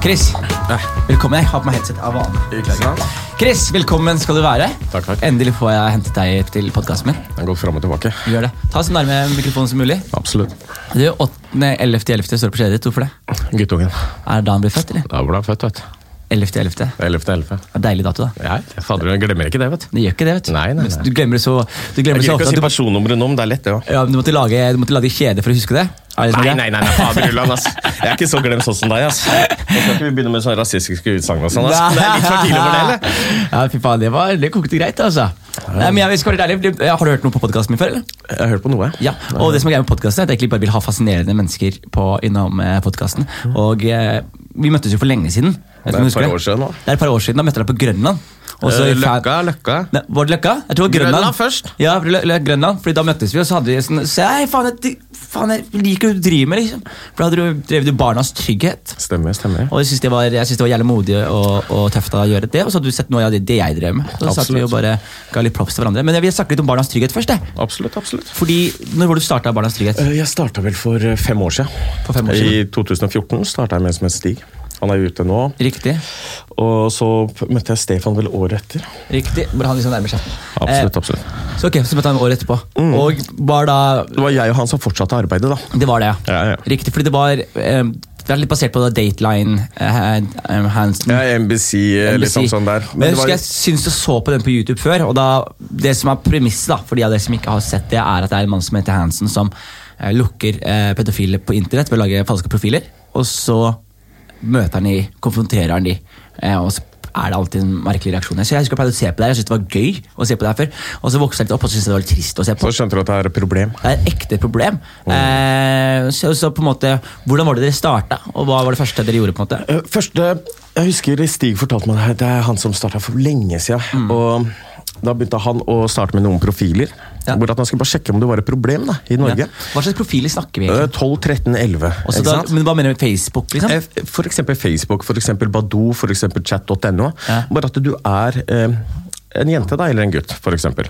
Chris, Eh, velkommen. Jeg har på meg headset av vane. Ikke sant? Chris, velkommen skal du være. Takk, takk. Endelig får jeg hentet deg til podkasten min. Den går fram og tilbake. Gjør det. Ta så nærme mikrofonen som mulig. Absolutt. Du, 8.11.11. står det på skjedet ditt. Hvorfor det? Guttungen. Er det da han blir født, eller? Da ble han født, vet du. 11.11. 11.11. Det er Deilig dato, da. Ja, jeg fader, jeg glemmer ikke det, vet du. Det gjør ikke det, vet du. Nei, nei, nei. Men Du glemmer det så, du Jeg glemmer det så gidder ofte at ikke å du, si må- personnummeret nå, men det er lett, det òg. ja, men du, måtte lage, du måtte lage kjede for å huske det. Er det som er Nei, greia? nei, nei, nei, fader Ulland, ass. Jeg er ikke så glemt sånn som deg, ass. Nå skal ikke vi begynne med sånne rasistiske utsagn og sånn, ass. Det er litt for tidlig for det, eller? Ja, fy faen, det, var, det kokte greit, altså. Nei, men jeg, vi skal være litt ærlig, det- Har du hørt noe på podkasten min før? eller? Jeg har hørt på noe, jeg. Ja, og det som er greia med podcasten er at jeg egentlig bare vil ha fascinerende mennesker på, innom eh, podcasten. Og eh, vi møttes jo for lenge siden. Jeg vet ikke om Det er du husker et par år siden nå. Det er et par år siden, da møtte jeg deg på Grønland. Og så Eh, i fan- Løkka, Løkka. Nei, var det Løkka? Jeg tror det var Grønland. Grønland først. Ja, Lø- Lø- Grønland, fordi da møttes vi, og så hadde vi sånn Se, hei, faen, jeg, faen, jeg liker det du driver med, liksom. For da hadde du, drev du Barnas Trygghet. Stemmer, stemmer. Og jeg synes det var, jeg synes det var jævlig modig og, og tøft å gjøre det. Og så hadde du sett noe av det, det jeg drev med. Så satt vi Absolutt. og bare ga litt props til hverandre. Men jeg vil snakke litt om Barnas Trygghet først. Jeg. Absolutt, absolutt. Fordi, Når var det du starta Barnas Trygghet? Eh, Jeg starta vel for eh, fem år siden. For fem år siden. I 2014 starta jeg med som het Stig. Han er ute nå. Riktig. Og så p- møtte jeg Stefan vel året etter. Riktig. Bare han liksom nærmer seg. Absolutt, Mm. absolutt. Eh, så ok, så møtte han året etterpå. Og var da Det var jeg og han som fortsatte arbeidet, da. Det var det, ja. Ja, ja. Riktig, fordi det var eh, Det er litt basert på Dateline eh, Han- eh, Hansen. Ja, NBC, eh, NBC. liksom sånn der. Men det jeg var- husker jeg syns jeg så på den på YouTube før. Og da, Det som er premisset, da, for de av dere som ikke har sett det, er at det er en mann som heter Hansen, som eh, lukker eh, pedofile på internett ved å lage falske profiler. Og så møter han de, konfronterer han de, eh, og så er det alltid en merkelig reaksjon. Så jeg husker jeg pleide å se på det her, jeg syntes det var gøy å se på det her før. Og så vokste jeg litt opp og syntes det var litt trist å se på. Så skjønte du at det er et problem. Det er et ekte problem. Eh, så, så på en måte, Hvordan var det dere starta, og hva var det første dere gjorde? på en måte? Eh, Første, Jeg husker Stig fortalte meg det her. Det er han som starta for lenge siden. Og da begynte han å starte med noen profiler. Ja. Hvor at han skulle bare sjekke om det var et problem da, i Norge. Ja. Hva slags profiler snakker vi Eh, egentlig? 12, 13, 11. Også ikke da, sant? men hva mener du med Facebook? liksom? Eh, f- For eksempel Facebook, for eksempel Badoo, for eksempel chat.no. Ja. Bare at du er eh, en jente da, eller en gutt, for eksempel.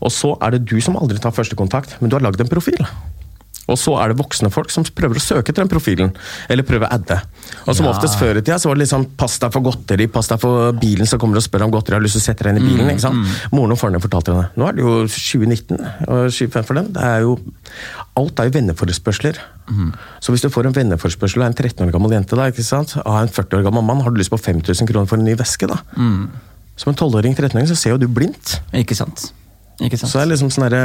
Og så er det du som aldri tar første kontakt, men du har lagd en profil. Og så er det voksne folk som prøver å søke til den profilen, eller prøver å adde. Og som Ja. oftest før i tida så var det liksom pass deg for godteri, pass deg for bilen som kommer og spør om godteri, har du lyst til å sette deg inn i Mm, bilen. ikke sant? Moren og faren din fortalte henne. Nå er det jo 2019 og 25 for dem. Det er jo, alt er jo venneforespørsler. Mm. Så hvis du får en venneforespørsel av en 13 år gammel jente da, ikke sant? av en 40 år gammel mann, har du lyst på 5000 kroner for en ny veske da? Mm. Som en 12-åring, 13-åring, så ser jo du blindt. Ikke sant? Ikke sant? Så det er liksom sånn derre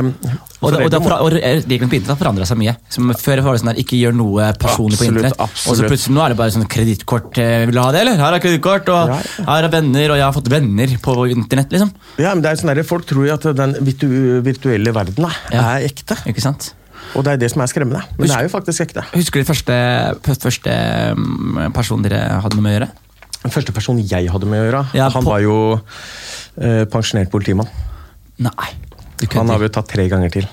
og da, og da, foreldre må- og reglene på internett har forandra seg mye. Som før var det sånn der, Ikke gjør noe personlig på Absolutt, internett. Og så absolutt. plutselig nå er det bare sånn kredittkort. eh, Vil du ha det, eller? Her er kredittkort, og Ja, ja. her er venner, og jeg har fått venner på internett. liksom. Ja, men det er sånn der, Folk tror jo at den virtu virtuelle verden da, Ja. er ekte. Ikke sant? Og det er det som er skremmende. Men det er jo faktisk ekte. Husker du første, første mm, person dere hadde noe med å gjøre? Den første personen jeg hadde med å gjøre, Ja, han på- var jo eh, pensjonert politimann. Nei. Du Han har kødder. vi jo tatt tre ganger til.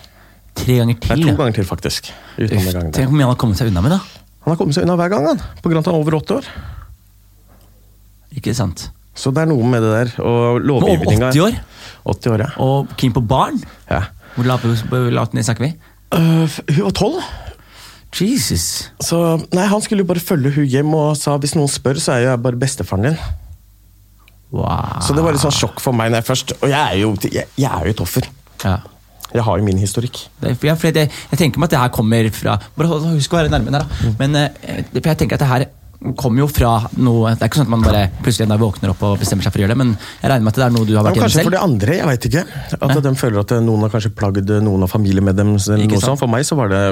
Tre ganger til? Nei, to ja. ganger til, faktisk. Utenom Uff, den gangen Tenk der. hvor mye han har kommet seg unna med, da. Han har kommet seg unna hver gang, han. På grunn av at han er over 80 år. Ikke sant? Så det er noe med det der. Men Og over lovgivninga 80 år, 80 år, ja. og keen på barn? ja. Hvor lave hvor lavt ned snakker vi? Øh, hun var tolv, Jesus. så Nei, han skulle jo bare følge hun hjem og sa hvis noen spør, så er jo jeg bare bestefaren din. Wow. Så det var litt sånn Ah. sjokk for meg når jeg først Og jeg er jo, jeg, jeg er jo et offer. Ja. Jeg har jo min historikk. Det, er- ja, for jeg, jeg tenker meg at det her kommer fra Bare hold- husk å være nærme den her, da. Mm. Men eh, det- for jeg tenker at det her kommer jo fra noe Det er ikke sånn at man bare plutselig en dag våkner opp og bestemmer seg for å gjøre det, men jeg regner med at det er noe du har Ja, vært men gjennom kanskje selv? for de andre, jeg veit ikke. At de føler at eh, noen har kanskje plagd noen av familiemedlemmene. eller Ikke noe sant? sånt. For meg så var det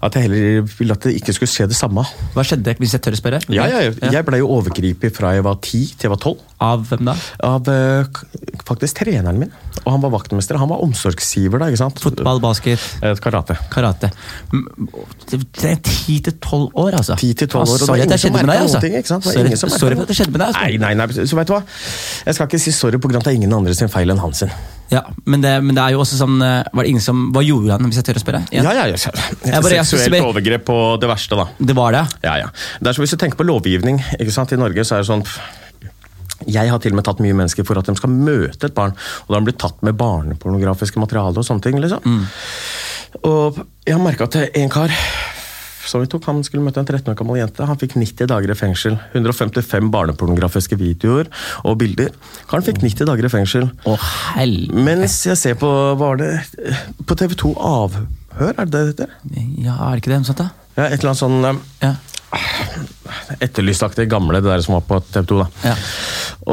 at jeg heller ville at det ikke skulle skje det samme. Hva skjedde, hvis jeg tør å spørre? Ja, ja, ja. Jeg blei jo overgripet fra jeg var ti til jeg var tolv. Av hvem da? Av eh, k- faktisk treneren min. Og han var vaktmester. Han var omsorgsgiver, da. ikke sant? Fotball, basket, Eh, Karate. karate. Mm, Det det er ti til tolv år, altså. 10 til 12 år, og det var sorry at det ingen som skjedde med deg, merket altså. noen ting, ikke sant? Det var Sorry, ingen som merket sorry for noe. at det skjedde med deg. Altså. Nei, nei, nei, så vet du hva? Jeg skal ikke si sorry pga. det er ingen andre sin feil enn hans sin. Ja, men det, men det er jo også sånn eh, Var det ingen som Hva gjorde han, hvis jeg tør å spørre? Ja, ja, ja. Jeg bare- jeg skal Seksuelt spørre- overgrep på det verste, da. Det var det, ja. Ja, ja. Det er som hvis du tenker på lovgivning ikke sant? i Norge, så er det sånn pff, jeg har til og med tatt mye mennesker for at de skal møte et barn, og da har de blitt tatt med barnepornografiske materiale og sånne ting. liksom. Og jeg har merka at en kar som vi tok, han skulle møte en 13 år gammel jente. Han fikk 90 dager i fengsel. 155 barnepornografiske videoer og bilder. Karen fikk 90 dager i fengsel. Å, helvete. Mens jeg ser på hva var det, på TV 2 Avhør, er det det heter? Ja, er det ikke det? Noe sånt, da? Ja, et eller annet sånn eh, Ja. etterlystaktig gamle, det der som var på TV 2. da. Ja.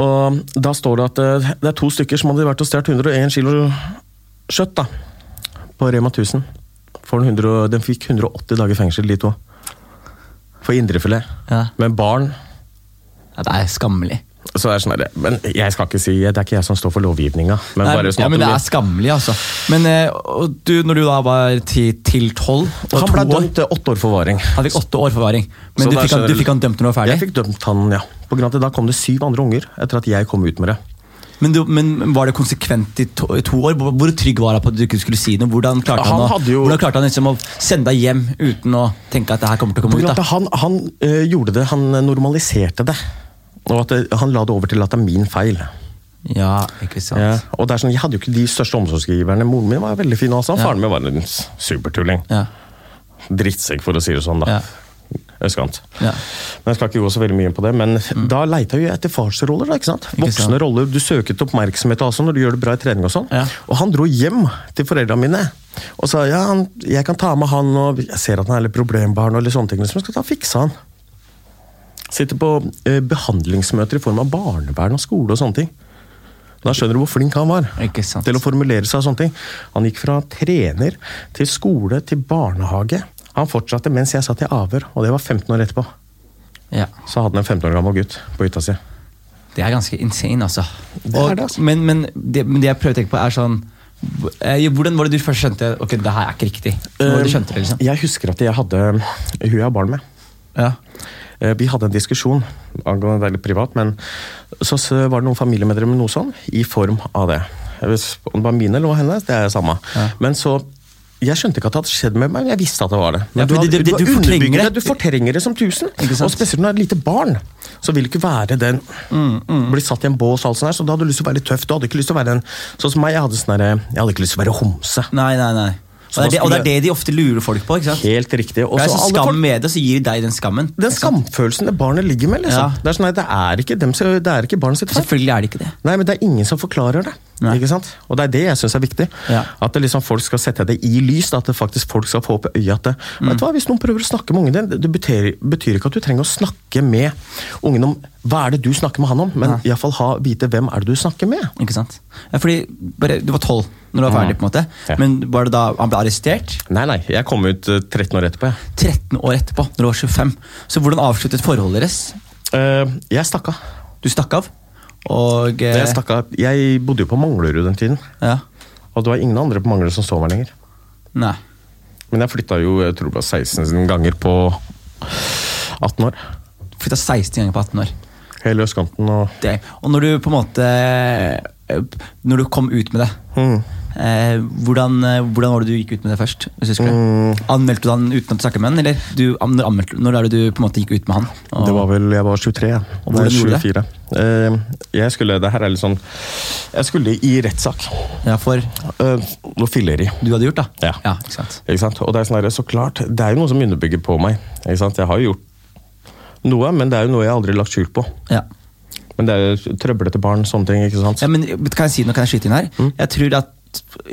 Og da står det at eh, det er to stykker som hadde vært og stjålet 101 kilo kjøtt da, på Rema 1000. For en 100, og- den fikk 180 dager fengsel, de to. For indrefilet. Ja. Men barn ja, det er skammelig. så er det sånn der, Men jeg skal ikke si Det er ikke jeg som står for lovgivninga. Men Nei, bare sånn ja, at men du- det er skammelig, altså. Men eh, og du, når du da var ti, til tolv og han ble to år dømt til åtte år forvaring. Han fikk åtte år forvaring, Så men du da fikk, han, skjønner du du- fikk han dømt når du var Jeg ferdig? fikk dømt han, ja. På grunn av at Da kom det syv andre unger etter at jeg kom ut med det. Men, du, men Var det konsekvent i to, i to år? Hvor hvor trygg var han på at du ikke skulle si noe? Hvordan klarte han, Han å, hadde jo- hvordan klarte han liksom å sende deg hjem uten å tenke at det her kommer til å På komme ut? grunn av da? at han han eh, gjorde det, han eh, normaliserte det. Og at eh, han la det over til at det er min feil. Ja, ikke sant. Ja. Og det er sånn, Jeg hadde jo ikke de største omsorgsgiverne. Moren min var veldig fin. Også. Faren min var en s- supertulling. Ja. Drittsekk, for å si det sånn. da. Ja. Østkant. Ja. Men Jeg skal ikke gå så veldig mye inn på det, men da leita jeg etter farsroller. da, ikke sant? Mm. Ikke Voksne sant. roller. Du søker til oppmerksomhet og alt sånt når du gjør det bra i trening. Og sånn. Ja. Og han dro hjem til foreldrene mine og sa ja, han, jeg kan ta med han, og jeg ser at han er litt problembarn, og litt sånne ting, liksom. jeg skal ta og fikse han. Sitter på eh, behandlingsmøter i form av barnevern og skole og sånne ting. Da skjønner du hvor flink han var Ikke sant. til å formulere seg. og sånne ting. Han gikk fra trener til skole til barnehage. Han fortsatte mens jeg satt i avhør, og det var 15 år etterpå. Ja. Så hadde han en 15 år gammel gutt på hytta si. Det er ganske insane, altså. Det er det, altså. Men, men, det, men det jeg prøver å tenke på, er sånn eh, Hvordan var det du først skjønte Ok, det her er ikke riktig? Når var det du skjønte det, liksom? Um, Jeg husker at jeg hadde eh, hun jeg har barn med. Ja. Eh, Vi hadde en diskusjon, angående veldig privat, men så s- var det noen familiemedlemmer med noe sånn, i form av det. Jeg vet ikke Om det var mine eller hennes, det er det samme. Men så jeg skjønte ikke at det hadde skjedd med meg, men jeg visste at det var det. Men Ja, du, fordi hadde, det- det- du, du har fortrenger underbygget det. det. Du fortrenger det som tusen. Ikke sant? Og spesielt når det er et lite barn, så vil det ikke være den Mm, Blir satt i en bås og alt sånt her, så da hadde du lyst til å være litt tøff. Du hadde ikke lyst til å være en Sånn som meg, jeg hadde sånn derre Jeg hadde ikke lyst til å være homse. Nei, nei, nei. Og det, Så da er det, og det skulle- er det de ofte lurer folk på. ikke sant? Helt riktig. Og Det er så sånn alle skam folk- med det, så gir de deg den skammen. Den skamfølelsen det barnet ligger med, liksom. Ja. Det er sånn, nei, det er ikke, dem, som- det er ikke barnet sitt feil. Selvfølgelig er det ikke det. Nei, men det er ingen som forklarer det. Nei. Ikke sant? Og det er det jeg syns er viktig. Ja. At det liksom folk skal sette det i lys. da, At det faktisk folk skal få opp i øyet at det, Mm. vet du hva, Hvis noen prøver å snakke med ungen din, det betyr, betyr ikke at du trenger å snakke med ungen om hva er det du snakker med han om, men iallfall vite hvem er det du snakker med. Ikke sant? Ja, fordi bare, Du var tolv når du var ferdig, på en måte. Mm. Ja. Men var det da han ble arrestert? Nei, nei, jeg kom ut eh, 13 år etterpå, jeg. 13 år etterpå, når du var 25. Så hvordan avsluttet forholdet deres? Eh, jeg stakk av. Du stakk av, og eh, Jeg, stakk av. jeg bodde jo på Manglerud den tiden, Ja. og det var ingen andre på Manglerud som så meg lenger. Nei. Men jeg flytta jo jeg tror det var 16 ganger på 18 år. Flytta 16 ganger på 18 år. Hele østkanten og Det. Og når du på en måte eh, Når du kom ut med det, Mm. eh, hvordan, eh, hvordan var det du gikk ut med det først? Hvis du husker det? Mm. Anmeldte du han uten at du snakket med han, eller du, an- når, anmeldte, når er det du på en måte gikk ut med han? Og, Det var vel, Jeg var 23. ja. Og hvordan Nei, gjorde du 24. Eh, jeg skulle det her er litt sånn Jeg skulle i rettssak. ja, for Uh, og filleri. du hadde gjort, da? Ja. ikke sant? Ikke sant? Og det er sånn her, så klart, det er jo noe som underbygger på meg. Ikke sant? Jeg har jo gjort noe, men det er jo noe jeg aldri har lagt skjul på. Ja. Men det er jo trøblete barn, sånne ting. ikke sant? ja, men Kan jeg si noe, kan jeg skyte inn her? Mm. Jeg tror at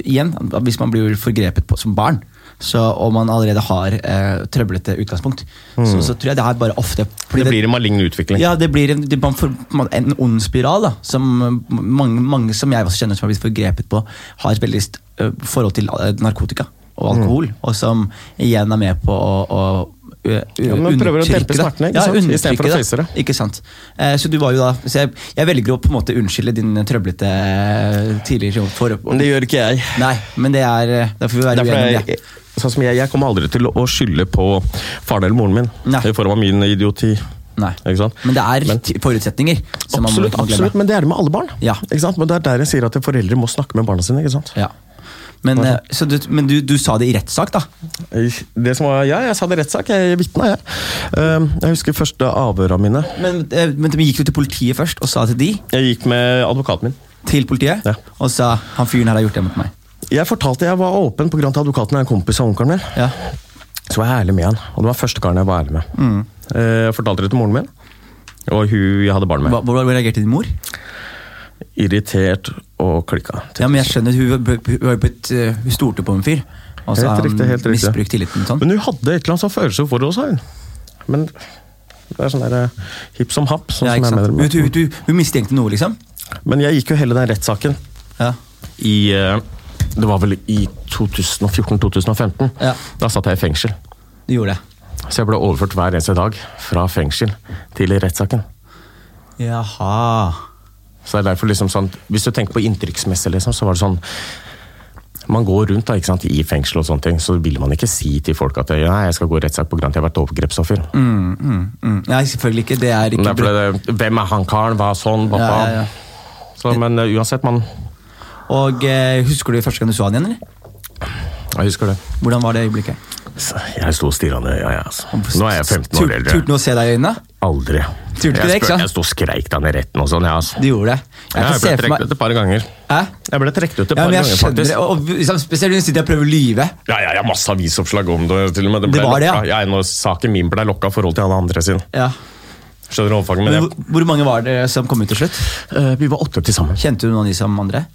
igjen, at hvis man blir forgrepet på som barn, så om man allerede har eh, trøblete utgangspunkt, så, så tror jeg det her bare ofte fordi Mm. det blir en malign utvikling. Ja, det blir en, det, man får på en måte en ond spiral, da, som eh, mange, mange som jeg også kjenner som har blitt forgrepet på, har et veldig st- eh, forhold til eh, narkotika Mm. og alkohol, og som igjen er med på å, å ø- ø- Ja, men prøver å undertrykke dempe det. smertene, ikke Ja, sant? undertrykke Istedenfor å det. face det. Ikke sant. Eh, så du var jo da så jeg, jeg velger å på en måte unnskylde din trøblete eh, tidligere jobb for det gjør ikke jeg. Nei, men det er eh, Da får vi være Derfor uenige er om det. jeg, sånn som jeg, jeg kommer aldri til å skylde på faren eller moren min Nei. i form av min idioti. Nei. Ikke sant? Men det er Men- ti- forutsetninger. som man må- Absolutt, må glemme. absolutt, men det er det med alle barn. Ja. Ikke sant? Men Det er der jeg sier at foreldre må snakke med barna sine. ikke sant? Ja. Men, eh, så du, men du, du sa det i rettssak, da? Det som var, ja, Jeg sa det i rettssak, jeg vitna, jeg. Ehm, Jeg husker første avhøra mine. Men, eh, men de gikk jo til politiet først og sa til de, Jeg gikk med advokaten min. til politiet, Ja. og sa han fyren her har gjort det mot meg. Jeg fortalte jeg var åpen pga. advokaten er en kompis av onkelen min. Ja. Så var jeg ærlig med han, og det var første karen jeg var ærlig med. Mm. Eh, Jeg fortalte det til moren min, og hun jeg hadde barn med. Hva- Hvordan reagerte din mor? Irritert og klikka. Ja, men jeg skjønner, Hun, var- hun, var blitt, eh, hun stolte på en fyr, og så Helt har han riktig, helt riktig. misbrukt tilliten. sånn. Men hun hadde et eller annet sånn følelse for oss, sa hun. Men det er sånn der eh, hipp som happ. Sånn Ja, ikke som jeg sant? mener Hun, det. hun, hun, hun mistenkte noe, liksom? Men jeg gikk jo hele den rettssaken Ja. i eh, Det var vel i 2014-2015. Ja. Da satt jeg i fengsel. Du gjorde det. Så jeg ble overført hver eneste dag fra fengsel til rettssaken. Jaha. Så det er derfor liksom sånn, Hvis du tenker på inntrykksmessig, liksom, så var det sånn Man går rundt da, ikke sant, i fengsel, og sånne ting, så vil man ikke si til folk at «Nei, jeg skal gå i rettssak på grunn av at jeg har vært overgrepsoffer. Mm, mm, mm. Nei, selvfølgelig ikke. Det er Men ikke det er fordi det, Hvem er han karen? Hva er sånn? Hva Ja, ja, faen?» ja. Så, men eh, uansett, man Og eh, Husker du første gang du så han igjen? eller? Jeg husker det. Hvordan var det øyeblikket? Så Jeg sto og stirra ned i øya. Altså. Nå er jeg 15 år Tur- Turte eldre. han å se deg i øynene? Aldri. Turte ikke jeg, det, ikke sant? jeg sto og skreik da ned i retten og sånn. Ja, altså. Du gjorde det. Jeg Ja, kan jeg se ble for trukket meg ut et par ganger. Hæ? Jeg ble trukket ut et Ja, par men jeg ganger, skjønner faktisk. det. Og, og, liksom, spesielt når du sitter og prøver å lyve. Ja, ja, ja, masse avisoppslag om det. til og med. Det ble var det, ja. lokka- ja. Når saken min ble lokka i forhold til alle andre sin. Ja. Skjønner du omfanget med Men, det? hvor, hvor mange var det som kom ut til slutt? Eh, vi var åtte til sammen, Kjente du noen av de som andre?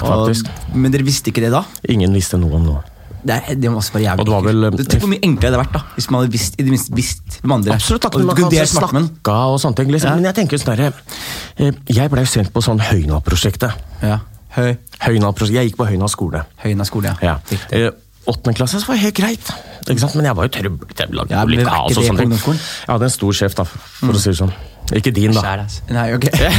faktisk. Og, men dere visste ikke det da? Ingen visste noe om noe. Det, er, det må også være jævlig Og det var ekkelt. vel, eh, Du, Tenk hvor mye enklere det hadde vært da hvis man hadde visst, i det minste visst hvem andre er. Absolutt, takk, Og men man kan kunne altså delt smerten med den. snakke og sånne ting. Liksom. Ja. Men jeg tenker jo sånn derre eh, Jeg blei sendt på sånn Høyna-prosjektet. Ja. Høy, Høyna-prosjektet, Jeg gikk på Høyna skole. høyen av skolen, ja. Ja. Eh, Åttende klasse så var det helt greit, ikke sant? men jeg var jo trøbbel. Jeg lagde Ja, jo men var litt ikke kaos og det sånn. sånne ting. på ungdomsskolen? Mm. Jeg hadde en stor sjef, da, for å si det sånn. Ikke din, da. Skjær, altså. Nei, ok. Ja,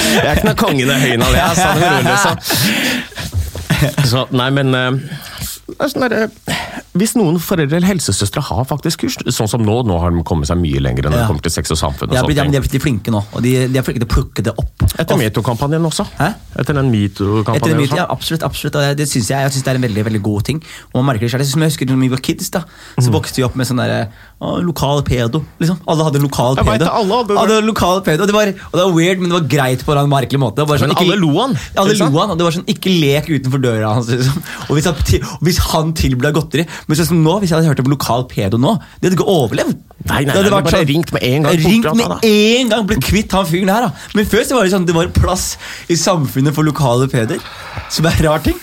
Jeg er ikke noen kongen av høyen av det, jeg sa det med rolig, så. så Nei, men eh, det er sånn der, eh, Hvis noen foreldre eller helsesøstre har faktisk kurs, sånn som nå, nå har de kommet seg mye lenger enn Ja. det kommer til sex og samfunn og ja, men sånne de ting. er blitt flinke nå, og de, de er flinke til å plukke det opp. Etter metoo-kampanjen også. Hæ? Etter Etter den det metoo-kampanjen. myten, ja, absolutt, absolutt, og det, det synes jeg, jeg synes det er en veldig veldig god ting. Og man merker det selv. Jeg synes jeg husker Når vi var kids, da, så Mm. vokste vi opp med sånn derre «Å, lokal pedo. liksom. Alle hadde en lokal Jeg vet pedo. det, alle hadde det. en lokal pedo. Og det, var, og det var weird, men det var greit på en merkelig måte. Det var Bare sånn, Men alle lo han, Alle ikke lo sant? han, og det var sånn, Ikke lek utenfor døra hans. liksom. Og Hvis han, til- og hvis han tilbød deg godteri Men sånn som nå, Hvis jeg hadde hørt om lokal pedo nå, de hadde ikke overlevd. Nei, nei, Det hadde nei, vært men bare ringt med en gang, bort Ringt fra med han, da. en gang blitt kvitt han fyren her, da. Men før så var det sånn, det var en plass i samfunnet for lokale peder. Som er en rar ting.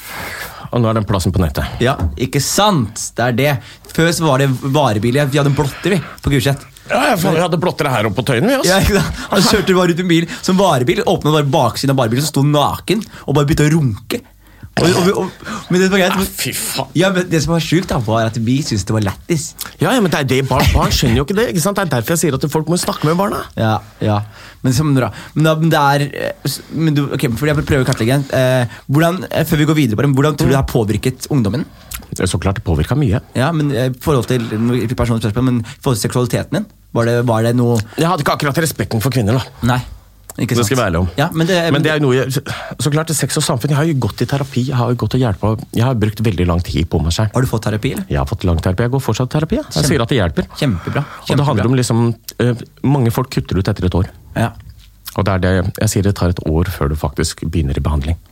Og nå er den plassen på nettet. Ja, ikke sant? Det er det. Før så var det varebiler. Vi hadde en blotter, vi, på Gulset. Ja, jeg faen, vi hadde blottere her oppe på Tøyen, vi, Ja, ikke sant? han kjørte bare ut med bil som varebil, åpna bare baksiden av varebilen, så sto han naken og bare begynte å runke. Og, og, og, men det var greit. Ja, men- fy faen. Ja, men det som var sjukt, da, var at vi syntes det var lættis. Ja, ja, men det er det barn, barn skjønner jo ikke det. ikke sant? Det er derfor jeg sier at folk må snakke med barna. Ja, ja. Men, som, bra. men, da, men det er eh, s- men du, ok, for Jeg prøver å kartlegge igjen. Eh, hvordan, eh, før vi går videre på det, hvordan tror du det har påvirket ungdommen? Det er så klart det påvirka mye. Ja, men eh, i forhold til nå ikke personlig spørsmål, men i forhold til seksualiteten din? Var det, var det noe Jeg hadde ikke akkurat respekten for kvinner, da. Nei. Ikke sant? Det skal jeg være ærlig om. Ja, men det, Men det er jo noe jeg, Så klart, det er sex og samfunn. Jeg har jo gått i terapi. Jeg har jo gått og hjulpet. Jeg har brukt veldig lang tid på meg selv. Har du fått terapi? eller? Jeg har fått lang terapi. Jeg går fortsatt i terapi. Jeg, jeg sier at det hjelper. Kjempebra. Og det kjempebra. handler om liksom eh, Mange folk kutter ut etter et år. Ja, Og det er det jeg sier det tar et år før du faktisk begynner i behandling.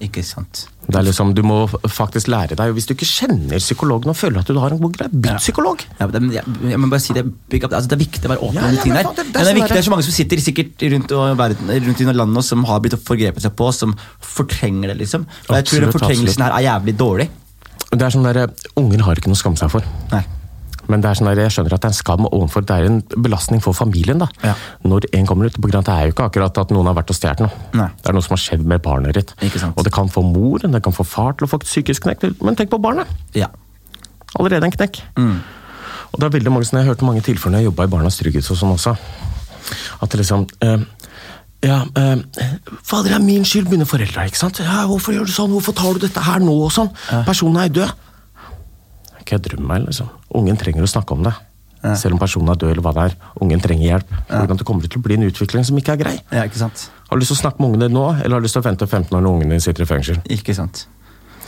ikke sant. Det er liksom, Du må faktisk lære deg Hvis du ikke kjenner psykologen og føler at du har en god greie, bytt psykolog! Ja, men det, men jeg, jeg må bare si Det big up. altså, det er viktig å være åpen Ja, om de ja, tingene men her. faen, det- det Men er det er sånn viktig, det det er. er så mange som sitter sikkert rundt, og verden, rundt i landet og som har blitt forgrepet seg på, som fortrenger det. liksom. Og jeg tror den Absolutt, fortrengelsen her er jævlig dårlig. Det er sånn der, Unger har ikke noe å skamme seg for. Nei. Men det er sånn der, jeg skjønner at det er en skam overfor, det er en belastning for familien. da. Ja. Når en kommer ut, på grunn av at det er jo ikke akkurat at noen har vært og stjålet noe. Nei. Det er noe som har skjedd med barnet ditt. Ikke sant. Og det kan få mor, det kan få far til å få et psykisk knekk. Men tenk på barnet! Ja. Allerede en knekk. Mm. Og det er veldig mange, sånne- Jeg hørte mange tilfeller når jeg jobba i Barnas Trygghet og sånn også. At det liksom eh, ja, eh, Fader, det er min skyld, begynner foreldra. ikke sant? Ja, 'Hvorfor gjør du sånn? Hvorfor tar du dette her nå?' og sånn. Personen er død. Kødder du med meg? liksom? Ungen trenger å snakke om det. Selv om personen er død, eller hva det er. Ungen trenger hjelp. Hvordan det kommer til å bli en utvikling som ikke er grei. ja, ikke sant. Har du lyst til å snakke med ungen din nå, eller har du lyst til å vente 15 år når ungen din sitter i fengsel? Ikke sant.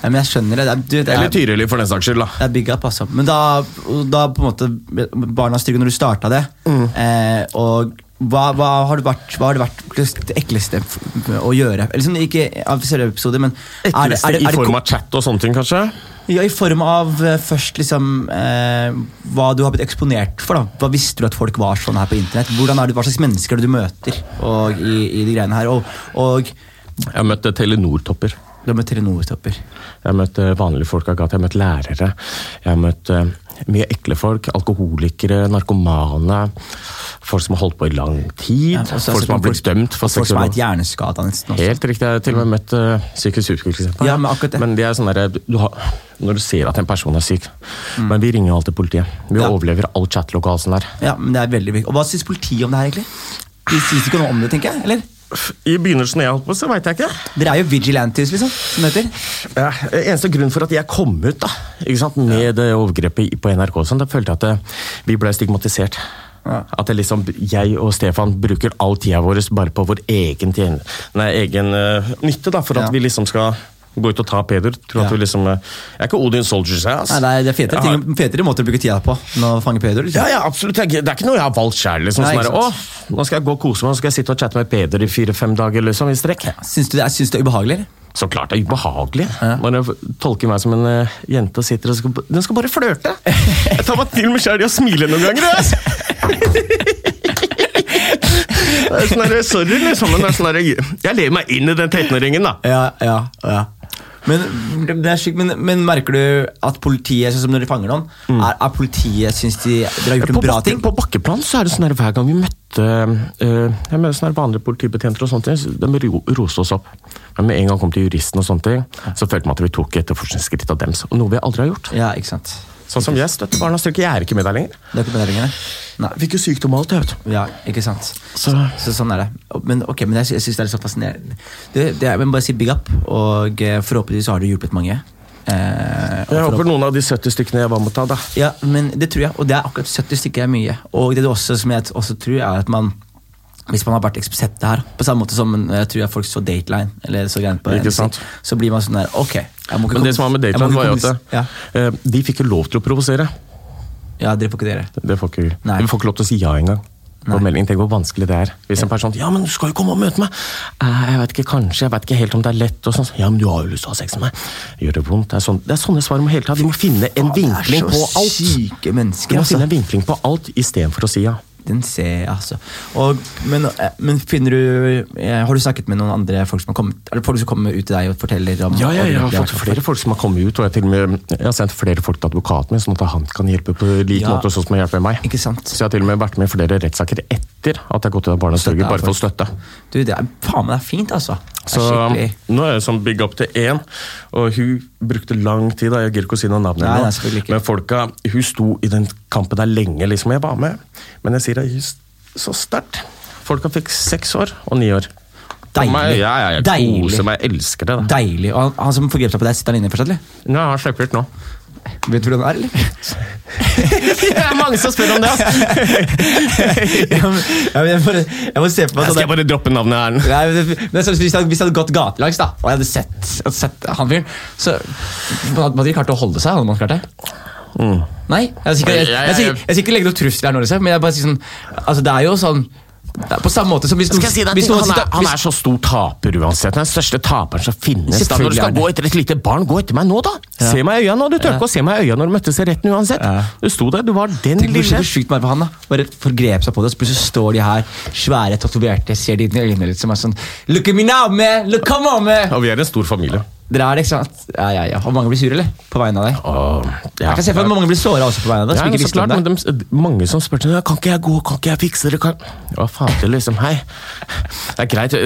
Ja, men jeg skjønner det. Det er, du, det er, Eller Tyrili, for den saks skyld. da. Det er big up, altså. Men da, og da på en måte Barnas Trygge, når du starta det, eh, og hva, hva, har det vært, hva har det vært det ekleste f- å gjøre? Eller sånn, ikke av selve episoder, men er det- er det- Ekleste er det i ko- form av chat og sånne ting, kanskje? Ja, I form av eh, først liksom eh, hva du har blitt eksponert for. da Hva visste du at folk var sånn her på internett? Hvordan er det, Hva slags mennesker er det du møter og, i, i de greiene her? Og, og Jeg har møtt eh, Telenor-topper. du har møtt Telenor-topper. Jeg har møtt eh, vanlige folk av gata, jeg har møtt lærere. Jeg har møtt eh, mye ekle folk. Alkoholikere, narkomane. Folk som har holdt på i lang tid. Ja, og så har jeg sett folk som har noen blitt dømt for Folk som er seksuelle et hjerneskada nesten også. Helt riktig. Jeg har til og med møtt uh, psykisk utviklingshemmede. Ja, men akkurat det. Men de er sånn derre du- du har- Når du ser at en person er syk Men vi ringer jo alltid politiet. Vi Mm. Ja. overlever all chatlokal sånn der. Ja, men det er veldig viktig. Og hva syns politiet om det her, egentlig? De sier ikke noe om det, tenker jeg? eller? I begynnelsen jeg holdt på, så veit jeg ikke. Dere er jo vigilantes, liksom. som det heter. Ja, eneste grunn for at jeg kom ut da, ikke sant, med det overgrepet i- på NRK, og sånn, da følte jeg at eh, vi ble stigmatisert. Ja. At det liksom, jeg og Stefan bruker all tida vår bare på vår egen, tjen nei, egen eh, nytte, da, for at Ja. vi liksom skal gå ut og ta Peder. Ja. Tror at vi liksom, eh, jeg er ikke Odin Soldiers, jeg. ass. Nei, det er, det er Jeg fetere, har- ting, fetere måter å bruke tida på enn å fange pedoer. Ja, Liksom. ja, absolutt. Det er ikke- det er ikke noe jeg har valgt sjøl. Liksom, Nei, ikke sånn der, «Åh, nå skal jeg gå og kose meg, så skal jeg sitte og chatte med Peder i fire-fem dager liksom, i strekk. Syns du det er, syns du det er ubehagelig? eller? Så klart det er ubehagelig. Når jeg tolker meg som en eh, jente og sitter og skal, Den skal bare flørte! Jeg tar meg til meg sjæl i å smile noen ganger. jeg, Altså. Det er sånn der, sorry, liksom. Men det er sånn der, jeg lever meg inn i den 13-åringen, da. Ja, ja, ja. Men, det er sykt, men, men merker du at politiet, sånn som når de fanger noen, er, er politiet syns de dere har gjort Mm. På, en bra bakke- ting? på bakkeplan så er det sånn der, hver gang vi møtte eh, jeg mener, sånn der, vanlige politibetjenter, og sånne ting, så de ro, roste oss opp. Men med en gang kom til juristen, og sånne ting, så følte man at vi tok etterforskningsskritt av dems. Og noe vi aldri har gjort. Ja, ikke sant. Sånn som jeg støtter barnas styrke. Jeg er ikke med der lenger. Det er ikke meningen, Nei. Jeg fikk jo sykdom og alt, jeg vet du. Ja, ikke sant. Så, Så- sånn er det. Men, ok, men jeg, sy- jeg syns det er litt så fascinerende. Det, det er, men bare si big up, og eh, forhåpentligvis så har du hjulpet mange. Eh, og Jeg forhåp- håper noen av de 70 stykkene jeg var med å ta, da. Ja, men det tror jeg, og det er akkurat 70 stykker er mye. Og det du også, som jeg t- også tror, er at man hvis man har vært eksplisitt her, på samme måte som eh, jeg tror jeg folk så Dateline, eller så greiene på Ikke NBC, sant. så blir man sånn der Ok. Jeg må ikke Men det kom- som var med jeg må Dateland, ikke var jo kom- at eh, de fikk jo lov til å provosere. ja. ja, dere får ikke dere. Det får ikke vi. Nei. Vi får ikke lov til å si ja engang. På meldingen, Tenk hvor vanskelig det er. Hvis en person sier 'ja, men du skal jo komme og møte meg'. «Eh, 'Jeg vet ikke, kanskje, jeg vet ikke helt om det er lett', og sånn. 'Ja, men du har jo lyst til å ha sex med meg'. Gjør det vondt? Det er, sånn, det er sånne svar må hele tiden. Vi må finne en vinkling på alt. syke Vi mennesker, må altså. finne en vinkling på alt istedenfor å si ja. Den ser jeg, altså. Og, men, eh, men finner du eh, Har du snakket med noen andre folk som har kommet Er det folk som kommer ut til deg og forteller om Ja, ja, jeg har om- fått flere folk som har kommet ut, og jeg, har til og med, jeg har sendt flere folk til advokaten min, sånn at han kan hjelpe på lik Ja. måte, sånn som han hjelper meg. Ikke sant? Så jeg har til og med vært med i flere rettssaker etter at jeg har gått ut av Barnas Støtte Norge, er bare for for- støtte. Du, det er faen meg det er fint, altså. Det er Så skikkelig nå er jeg sånn big up til én, og hun brukte lang tid, da, jeg gir ikke å si noe navn Nei, nei, ennå, selvfølgelig ikke. men folka, hun sto i den kampen der lenge, liksom, jeg var med, men jeg sier det er så sterkt. Folka fikk seks år og ni år. For Meg, Deilig. ja, ja, jeg Deilig. koser meg, jeg elsker det. Da. Deilig. Og han, han som forgrep seg på deg, sitter han inne fortsatt, eller? Nå har jeg sluppet ut nå. Vet du hvor han er, eller? Det er mange som spør om det, ass. ja, men, ja, men jeg, bare, jeg må se på meg Skal jeg sånn bare droppe navnet her? Nei, men det- men så, hvis, jeg, hadde- hvis jeg hadde gått gatelangs da og jeg hadde sett, jeg hadde sett han fyren, så hadde man ikke klart å holde seg. Hadde man klart det? Mm. Nei. Jeg skal ikke, jeg, jeg, sier- jeg skal ikke legge noen trusler her nå, liksom, men jeg bare sier sånn altså, Det er jo sånn det er På samme måte som hvis Skal jeg si deg, hvis en ting? noen han, er, sitter- han hvis- er så stor taper uansett. Den største taperen som finnes. Da, når du Selvfølgelig er skal det. gå etter et lite barn, gå etter meg nå, da! Se meg i øya nå! Du tør ikke å se meg i øya når du møttes i retten uansett. Du sto der, du var den Tenk hvor lille hvor sjukt det var for han da Bare forgrep seg på det Og så plutselig står de her Svære, tatoverte Ser de inn i øynene litt Som er sånn Look at me now, man Look, come on, man Og vi er en stor familie. Dere er det, ikke sant? Ja, ja, ja Og mange blir sure, eller? På vegne av deg Og, ja. Jeg kan se for meg at mange blir såret også på vegne av deg Ja, Som men ikke så visste klart, om men det de, mange som spurte ja, Kan ikke jeg gå, kan ikke jeg fikse det kan... Hva faen til liksom, hei Det er greit Det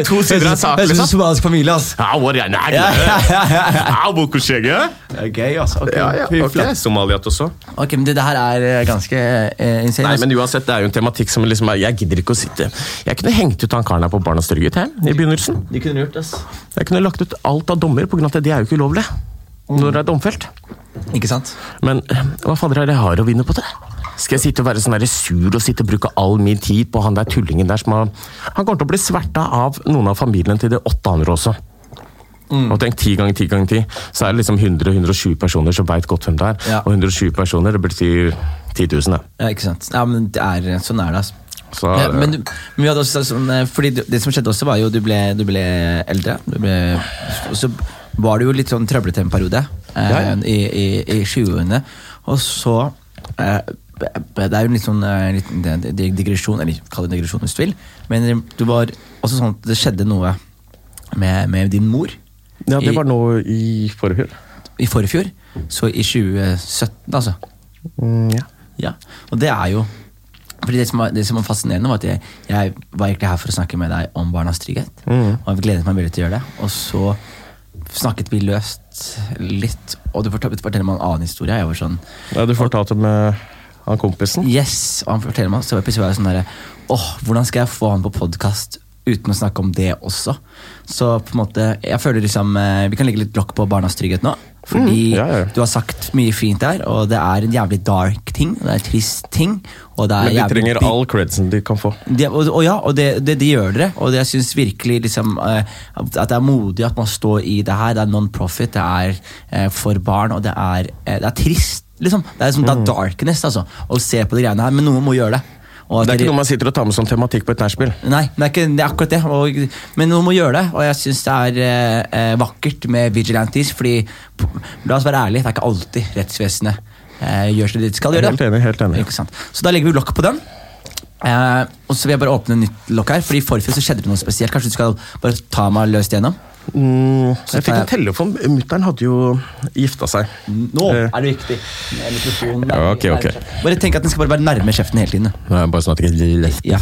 er to sider av Det saken er sånn liksom. somalisk familie, altså Ja, hvor er det? Ja, ja, ja, ja. Ja, bokoskjegget Det er gøy, altså Ok, Ja, ja, fy ok. flate. Somaliat også. Ok, men det, det her er eh, ganske eh, insane Nei, altså. men uansett, det er jo en tematikk som liksom er Jeg gidder ikke å sitte Jeg kunne hengt ut han karen her på Barnas Torg i i begynnelsen. De kunne gjort det, ass Jeg kunne lagt ut alt av dommer, på grunn av at det er jo ikke ulovlig. Mm. Når det er domfelt. Ikke sant? Men eh, hva fader er det jeg har å vinne på det? Skal jeg sitte og være sånn der sur og sitte og bruke all min tid på han der tullingen der som har Han kommer til å bli sverta av noen av familien til de åtte andre også. Mm. Og tenk ti ganger ti ganger ti, så er det liksom 100-120 personer som veit godt hvem det er. Ja. Og 120 personer, det betyr 10 000, det. Ja, ikke sant? Ja, men det er Sånn er det, altså Så, eh, Ja, men, du- men vi hadde også sagt sånn, eh, fordi det, det som skjedde også, var jo du ble, du ble eldre. Du ble, og så var det jo litt sånn trøblete en periode eh, Ja, ja. i, i, i 20-årene. Og så eh, Det er jo en litt sånn eh, liten di- di- digresjon, eller kall det digresjon hvis du vil. Men du var også sånn at det skjedde noe med, med din mor Ja, det I- var nå i forfjor. i forfjor. Så i 2017, altså. Mm, ja. Ja, og det er jo fordi det som, var, det som var fascinerende, var at jeg, jeg var egentlig her for å snakke med deg om barnas trygghet. Og jeg gledet meg veldig til å gjøre det. Og så snakket vi løst litt, og du fortalte forteller meg en annen historie. Jeg var sånn ja, du fortalte med han kompisen. Yes! Og han forteller meg, så var jeg plutselig var jeg sånn derre Åh, hvordan skal jeg få han på podkast uten å snakke om det også? Så på en måte, jeg føler liksom eh, Vi kan legge litt lokk på barnas trygghet nå. Fordi Mm, ja, ja. du har sagt mye fint der, og det er en jævlig dark ting. Og det er en trist ting. Og det er Altså, Men de jævlig trenger bi- all credsen de kan få. det, og, og ja, og det, det, det gjør dere. Og det, jeg syns virkelig liksom, eh, at det er modig at man står i det her. Det er non-profit, det er eh, for barn, og det er, eh, det er trist. Liksom. Det, er, liksom, det Mm. er darkness altså, å se på de greiene her, men noen må gjøre det. Og at Det er ikke dere- noe man sitter og tar med som tematikk på et nachspiel. Nei, det er, ikke, det er akkurat det. Og, men noen må gjøre det, og jeg syns det er eh, eh, vakkert med vigilantes. Fordi, p- la oss være ærlige, det er ikke alltid rettsvesenet eh, gjør som de skal gjøre. Helt enig, helt enig. Ikke sant? Så da legger vi lokk på den. Eh, og så vil jeg bare åpne nytt lokk her, Fordi i forfjor så skjedde det noe spesielt. Kanskje du skal bare ta meg løst igjennom? Mm, Så jeg fikk en tar telefon. Mutter'n hadde jo gifta seg. Nå Eh, er det viktig! Med mikrofonen Ja, nærme- ok, ok. nærme- Bare tenk at den skal bare være nærme kjeften hele tiden. Nå er jeg bare snart ikke Det Ja,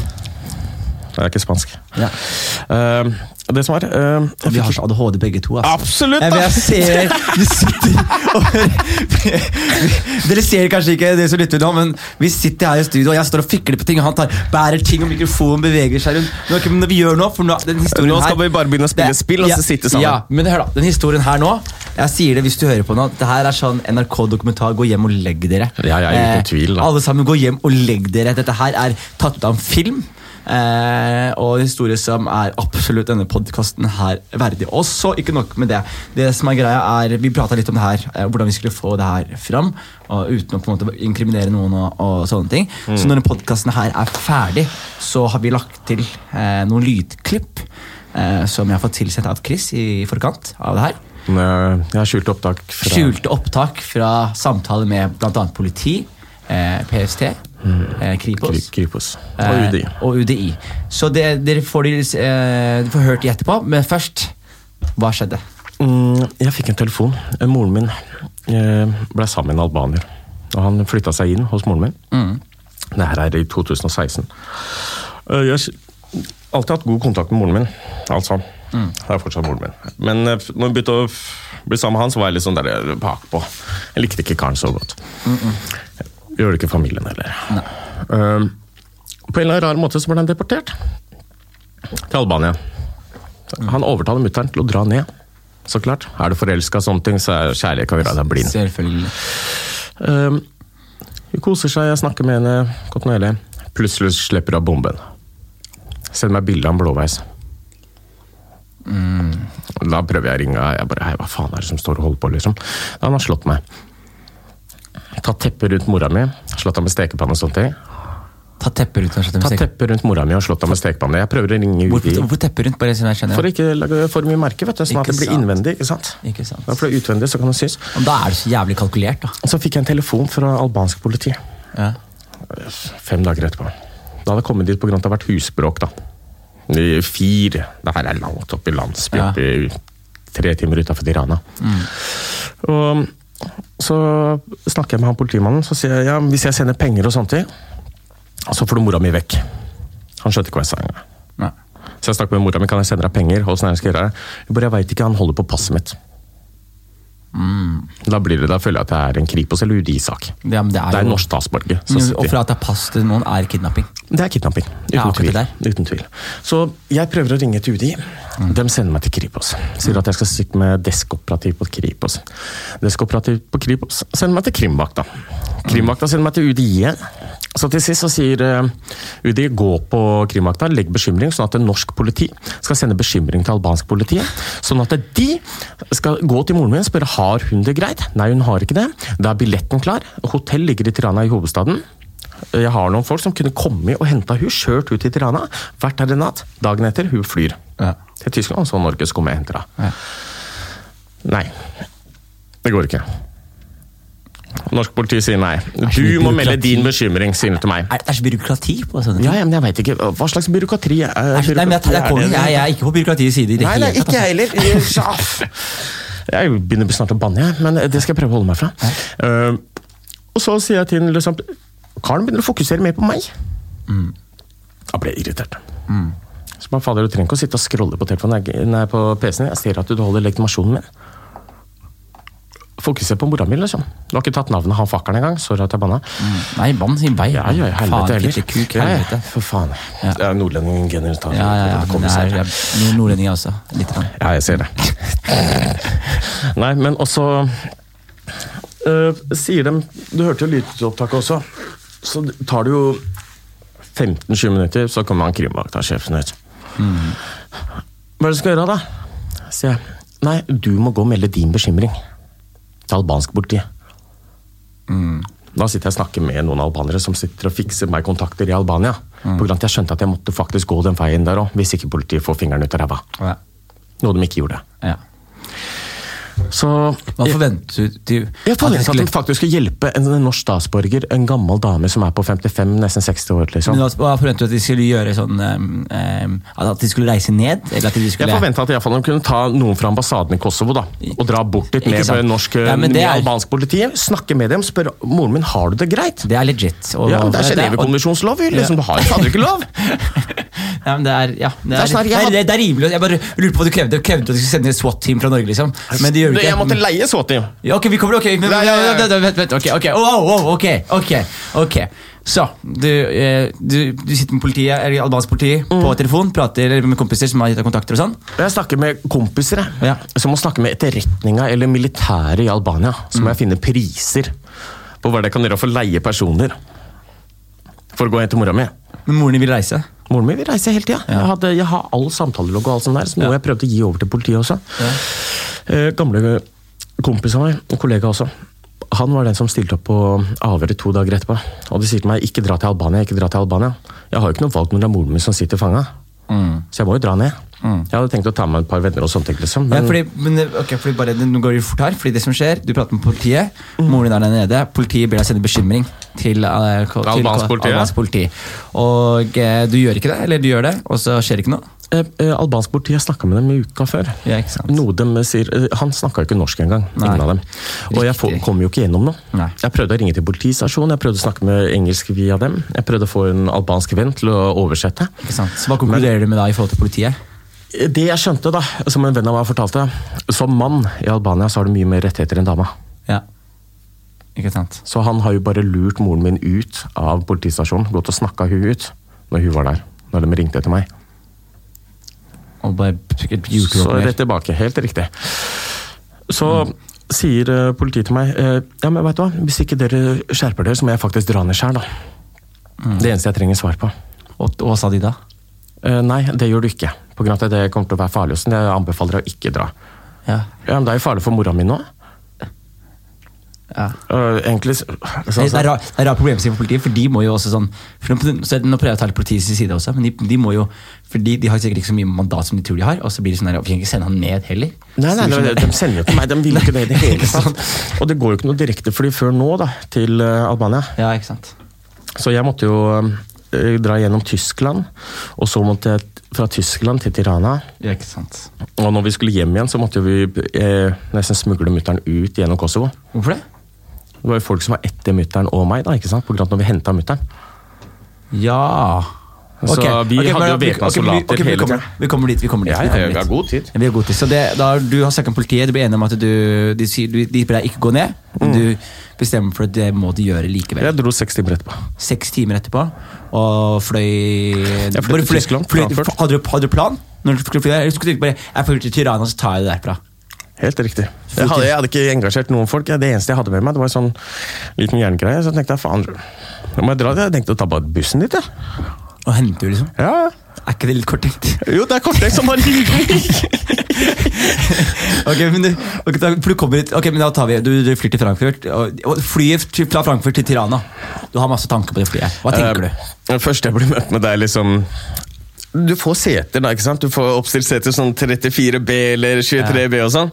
er ikke spansk. ja. Eh, det som var eh, jeg Vi fikk- har så ADHD begge to. Altså. Absolutt! Jeg, jeg ass! ser Vi sitter og Dere ser kanskje ikke det som lytter nå, men vi sitter her i studio, og jeg står og fikler på ting, og han tar, bærer ting, og mikrofonen beveger seg rundt. Nå, er ikke- men vi gjør nå, for nå, den historien Nå skal her vi bare begynne å spille det- spill, og så sitte sammen. Ja, men hør da, den historien her nå Jeg sier det hvis du hører på nå Det her er sånn NRK-dokumentar, gå hjem og legg dere Ja, ja, uten tvil, da. Alle sammen, gå hjem og legg dere Dette her er tatt ut av en film eh, Og en historie som er absolutt denne podcasten her verdig Og så ikke nok med det Det som er greia er, vi pratet litt om det her eh, Hvordan vi skulle få det her fram og Uten å på en måte inkriminere noen og, og sånne ting Så når denne podcasten her er ferdig Så har vi lagt til eh, noen lydklipp eh, som jeg har fått tilsendt av Chris i forkant av det her. Nei, eh, Jeg har skjult opptak fra Skjulte opptak fra samtaler med bl.a. politi, eh, PST, eh, Kripos. Kri- Kripos. Mm. Og eh, UDI. og UDI. Så det, dere får, de, eh, dere får hørt de etterpå, men først Hva skjedde? Mm, jeg fikk en telefon. Eh, Moren min eh, ble sammen med en albaner. Og han flytta seg inn hos moren min. Mm. Det her er i 2016. Eh, Jeg har alltid hatt god kontakt med moren min. Altså, Det er fortsatt moren min. Men eh, når jeg begynte å f- bli sammen med han, så var jeg litt sånn der eh, bakpå. Jeg likte ikke karen så godt. Gjør det ikke familien heller. Eh, på en eller annen rar måte så ble han deportert til Albania. Han overtaler mutter'n til å dra ned. Så klart. Er du forelska og sånne ting, så er kjærlighet kan gjøre deg blind. Selvfølgelig. Um, hun koser seg, jeg snakker med henne kontinuerlig. Plutselig slipper hun av bomben. Send meg bilde av en blåveis. Mm. Og Da prøver jeg å ringe Jeg bare, hei, hva faen er det som står og holder på, liksom? Da han har slått meg. Tatt teppet rundt mora mi, slått henne med stekepanne og sånne ting. Ta teppet rundt. kanskje, Tatt teppet. teppet rundt mora mi og slått henne med stekepanne. Jeg prøver å ringe Hvorfor, UDI. hvorfor teppet rundt? Bare så jeg skjønner. For å ikke lage for mye merke, vet du, sånn at Ikke det blir sant. innvendig. ikke sant? Ikke sant. Ja, for det er utvendig, så kan det synes. Da er det så jævlig kalkulert, da. Så fikk jeg en telefon fra albansk politi Ja. fem dager etterpå. Da hadde jeg kommet dit på grunn av at det har vært husbråk, da. I fire Det her er langt opp i landsby, Ja. oppi tre timer utafor Tirana. Og så snakker jeg med han politimannen, så sier jeg ja, hvis jeg sender penger og sånne ting, så får du mora mi vekk. Han skjønte ikke hva jeg sa engang. Nei. Så jeg snakket med mora mi, kan jeg sende deg penger? Hvordan er det jeg skal gjøre det? Hun bare, jeg vet ikke, han holder på passet mitt. Mm. Da blir det, da føler jeg at det er en Kripos eller UDI-sak. Ja, men det er Det er jo- en norsk statsborger. som Men sitter- Å frata pass til noen er kidnapping. Det er kidnapping. Uten, Ja, akkurat tvil. det uten tvil. Så jeg prøver å ringe til UDI. De sender meg til Kripos. Sier at jeg skal sitte med deskoperativ på Kripos. Deskoperativ på Kripos sender meg til Krimvakta. Krimvakta sender meg til UDI. Så til sist så sier eh, UDI gå på Krimvakta, legg bekymring, sånn at norsk politi skal sende bekymring til albansk politi. Sånn at de skal gå til moren min og spørre har hun det greit. Nei, hun har ikke det. Da er billetten klar. Hotell ligger i Tirana i hovedstaden. Jeg har noen folk som kunne kommet og henta hun, kjørt ut til Tirana, vært der en natt. Dagen etter, hun flyr. Ja. Til Tyskland, så Norge, så kommer jeg og henter henne. Ja. Nei. Det går ikke. Norsk politi sier nei. Du mye må melde byråkrati. din bekymring, sier hun til meg. Er, det er så byråkrati på sånne ting. Ja, ja, men jeg veit ikke. Hva slags byråkrati er Er så- nei, men jeg, jeg, byråkrati er kommer- det? jeg, jeg er ikke på byråkratiets side i det Nei, nei, hele tatt. ikke jeg heller. Jeg begynner snart å banne, jeg, men det skal jeg prøve å holde meg fra. Eh, og så sier jeg til henne liksom Karen begynner å fokusere mer på meg. Mm. Da ble jeg irritert. Så bare, fader, du trenger ikke å sitte og scrolle på telefonen jeg- nei, på PC-en. Jeg ser at du holder legitimasjonen min. Fokuser på mora mi, liksom. Du har ikke tatt navnet han fakkelen engang. Sorry at jeg banna. Altså. Nei, bann sin vei. Ja, ja, Faen, helvete heller. fitte, kuk, Ja, ja, helvete. For faen. Det er nordlendingen generelt. Ja, ja, ja. Men det er, jeg, nord- nordlendinger også. Litt. grann. Ja, jeg ser det. Nei, men også øh, Sier dem Du hørte jo lydopptaket også. Så tar det jo 15-20 minutter, så kommer han krimvaktasjefen ut. Mm. Hva er det du skal gjøre, da? sier jeg. Nei, du må gå og melde din bekymring til albansk politi. Mm. Da sitter jeg og snakker med noen albanere som sitter og fikser meg kontakter i Albania. På grunn av at jeg skjønte at jeg måtte faktisk gå den veien der òg, hvis ikke politiet får fingeren ut av ræva. Ja. Noe de ikke gjorde. Ja. Så Hva forventer du til jeg forventet at skulle- de faktisk skulle hjelpe en norsk statsborger, en gammel dame som er på 55, nesten 60 år. liksom. Men hva- hva forventer du at de skulle gjøre sånn ehm, ehm, At de skulle reise ned? Eller at de Jeg skulle forventa at i hvert fall de kunne ta noen fra ambassaden i Kosovo da, og dra bort dit Ikke med sant? norsk Ja, men med det er- albansk politi, snakke med dem, spørre moren min har du det greit. Det er legit. og- Ja, men Det er og- Genévekonvensjonslov, jo, liksom. Du har jo fader ikke lov! Ja, men det er, ja, det, er, er snart- det, jeg er, hadde- det, er, rimelig. Jeg bare lurte på hva du krevde. Krevde at du skulle sende et SWAT-team fra Norge, liksom. Men det gjør du ikke. Jeg måtte leie SWAT-team. ja, ok, vi kommer, ok. Men, Nei, nei, nei. Vent, vent, vent, ok, ok. Wow, wow, ok, ok, ok. Så, du, eh, du, du sitter med politiet, eller albansk politi på Mm. telefon, prater eller med kompiser som har gitt deg kontakter og sånn. Jeg snakker med kompiser jeg, Ja. som må snakke med etterretninga eller militæret i Albania. Så Mm. må jeg finne priser på hva det kan gjøre for å leie personer for å gå hjem til mora mi. Men moren din vil reise. Moren min vil reise hele tida. Jeg, hadde- jeg har all samtalelogg og alt sånt der, så noe jeg prøvde å gi over til politiet også. Eh, gamle kompis av meg, en kollega også, han var den som stilte opp på avhøret to dager etterpå. Og de sier til meg 'ikke dra til Albania', ikke dra til Albania. Jeg har jo ikke noe valg når det er moren min som sitter fanga. Mm. Så jeg må jo dra ned. Jeg hadde tenkt å ta med et par venner og sånt, liksom. Ja, Men, fordi, men, ok, fordi bare, Nå går det fort her. Fordi det som skjer, Du prater med politiet. Moren din er der nede. Politiet ber deg sende bekymring til, eh, ko- til Mm. Albansk ko- politi, ja. albansk politi. Og eh, du gjør ikke det, eller du gjør det, og så skjer det ikke noe. eh, eh, albansk politi, jeg snakka med dem i uka før. Ja, ikke sant? Noe de sier, eh, Han snakka jo ikke norsk engang, Nei. ingen av dem. Og jeg får- Riktig. kom jo ikke gjennom noe. Nei. Jeg prøvde å ringe til politistasjonen, jeg prøvde å snakke med engelsk via dem. Jeg prøvde å få en albansk venn til å oversette. Ikke sant? Så Hva konkluderer du med da i forhold til politiet? Det jeg skjønte, da, som en venn av meg fortalte Som mann i Albania så har du mye mer rettigheter enn dama. Ja. Ikke sant? Så han har jo bare lurt moren min ut av politistasjonen. Gått og snakka hun ut når hun var der. Når de ringte etter meg. Og bare sikkert gjort Så noe mer. rett tilbake. Helt riktig. Så sier eh, politiet til meg eh, Ja, men vet du hva? Hvis ikke dere skjerper dere, så må jeg faktisk dra ned sjøl, da. Mm. Det eneste jeg trenger svar på. Og, og hva sa de da? Eh, nei, det gjør du ikke. På grunn av at det kommer til å være farlig. hos den. Jeg anbefaler deg å ikke dra. Ja. Ja, men det er jo farlig for mora mi nå. ja. Eh, egentlig altså, så, Det, det er rar, det er rar problemstilling for politiet, for de må jo også sånn for nå, så nå prøver jeg å ta litt politiets side også, men de, de må jo Fordi de har sikkert ikke så mye mandat som de tror de har, og så blir det sånn der, vi kan ikke sende han ned heller. Nei, nei, Så nei, det blir de sånn- sender jo ikke meg. De vil jo ikke det i det hele Ikke sant? tatt. Og det går jo ikke noe direktefly før nå da, til eh, Albania. Ja, ikke sant. Så jeg måtte jo eh, dra gjennom Tyskland, og så måtte jeg t- fra Tyskland til Tirana. Ja, ikke sant. Og når vi skulle hjem igjen, så måtte jo vi eh, nesten smugle mutter'n ut gjennom Kosovo. Hvorfor det? Det var jo folk som var etter mutter'n og meg, da, ikke sant? på grunn av at når vi henta mutter'n. Ja Så Ok, vi ok, hadde men- jo ok, ok, væpna vi- soldater ok, vi hele kommer- Vi kommer dit, vi kommer dit. Ja, vi ja, kommer ja, dit. vi har god tid. Ja, Vi har god tid. Så det, da, har- du har snakket med politiet, du blir enig om at du, de, sier, du, de ber deg ikke gå ned. men Mm. Du bestemmer for at det må du gjøre likevel. Jeg dro seks timer etterpå. Seks timer etterpå, og fløy Jeg fløy bare til Tyskland, fløy- Frankfurt. Hadde du, hadde du plan? Når du skulle fly der? Eller skulle du tenke bare Jeg flyr til Tirana, så tar jeg det derfra. Helt riktig. Jeg hadde, jeg hadde ikke engasjert noen folk. Det eneste jeg hadde med meg, det var en sånn liten jerngreie. Så tenkte jeg faen, nå må jeg dra. Jeg tenkte å ta bare bussen dit, jeg. Og henter du, liksom. Ja. ja. Er ikke det litt korttenkt? Jo, det er korttenkt som bare Ok, men du, ok, da, for du kommer hit Ok, men da tar vi Du, du flyr til Frankfurt. Og, og flyet til- fra Frankfurt til Tirana. Du har masse tanker på det flyet. Eh, Hva tenker du? Det første jeg blir møtt med, det er liksom Du får seter, da. ikke sant? Du får oppstilt seter sånn 34B eller 23B og sånn.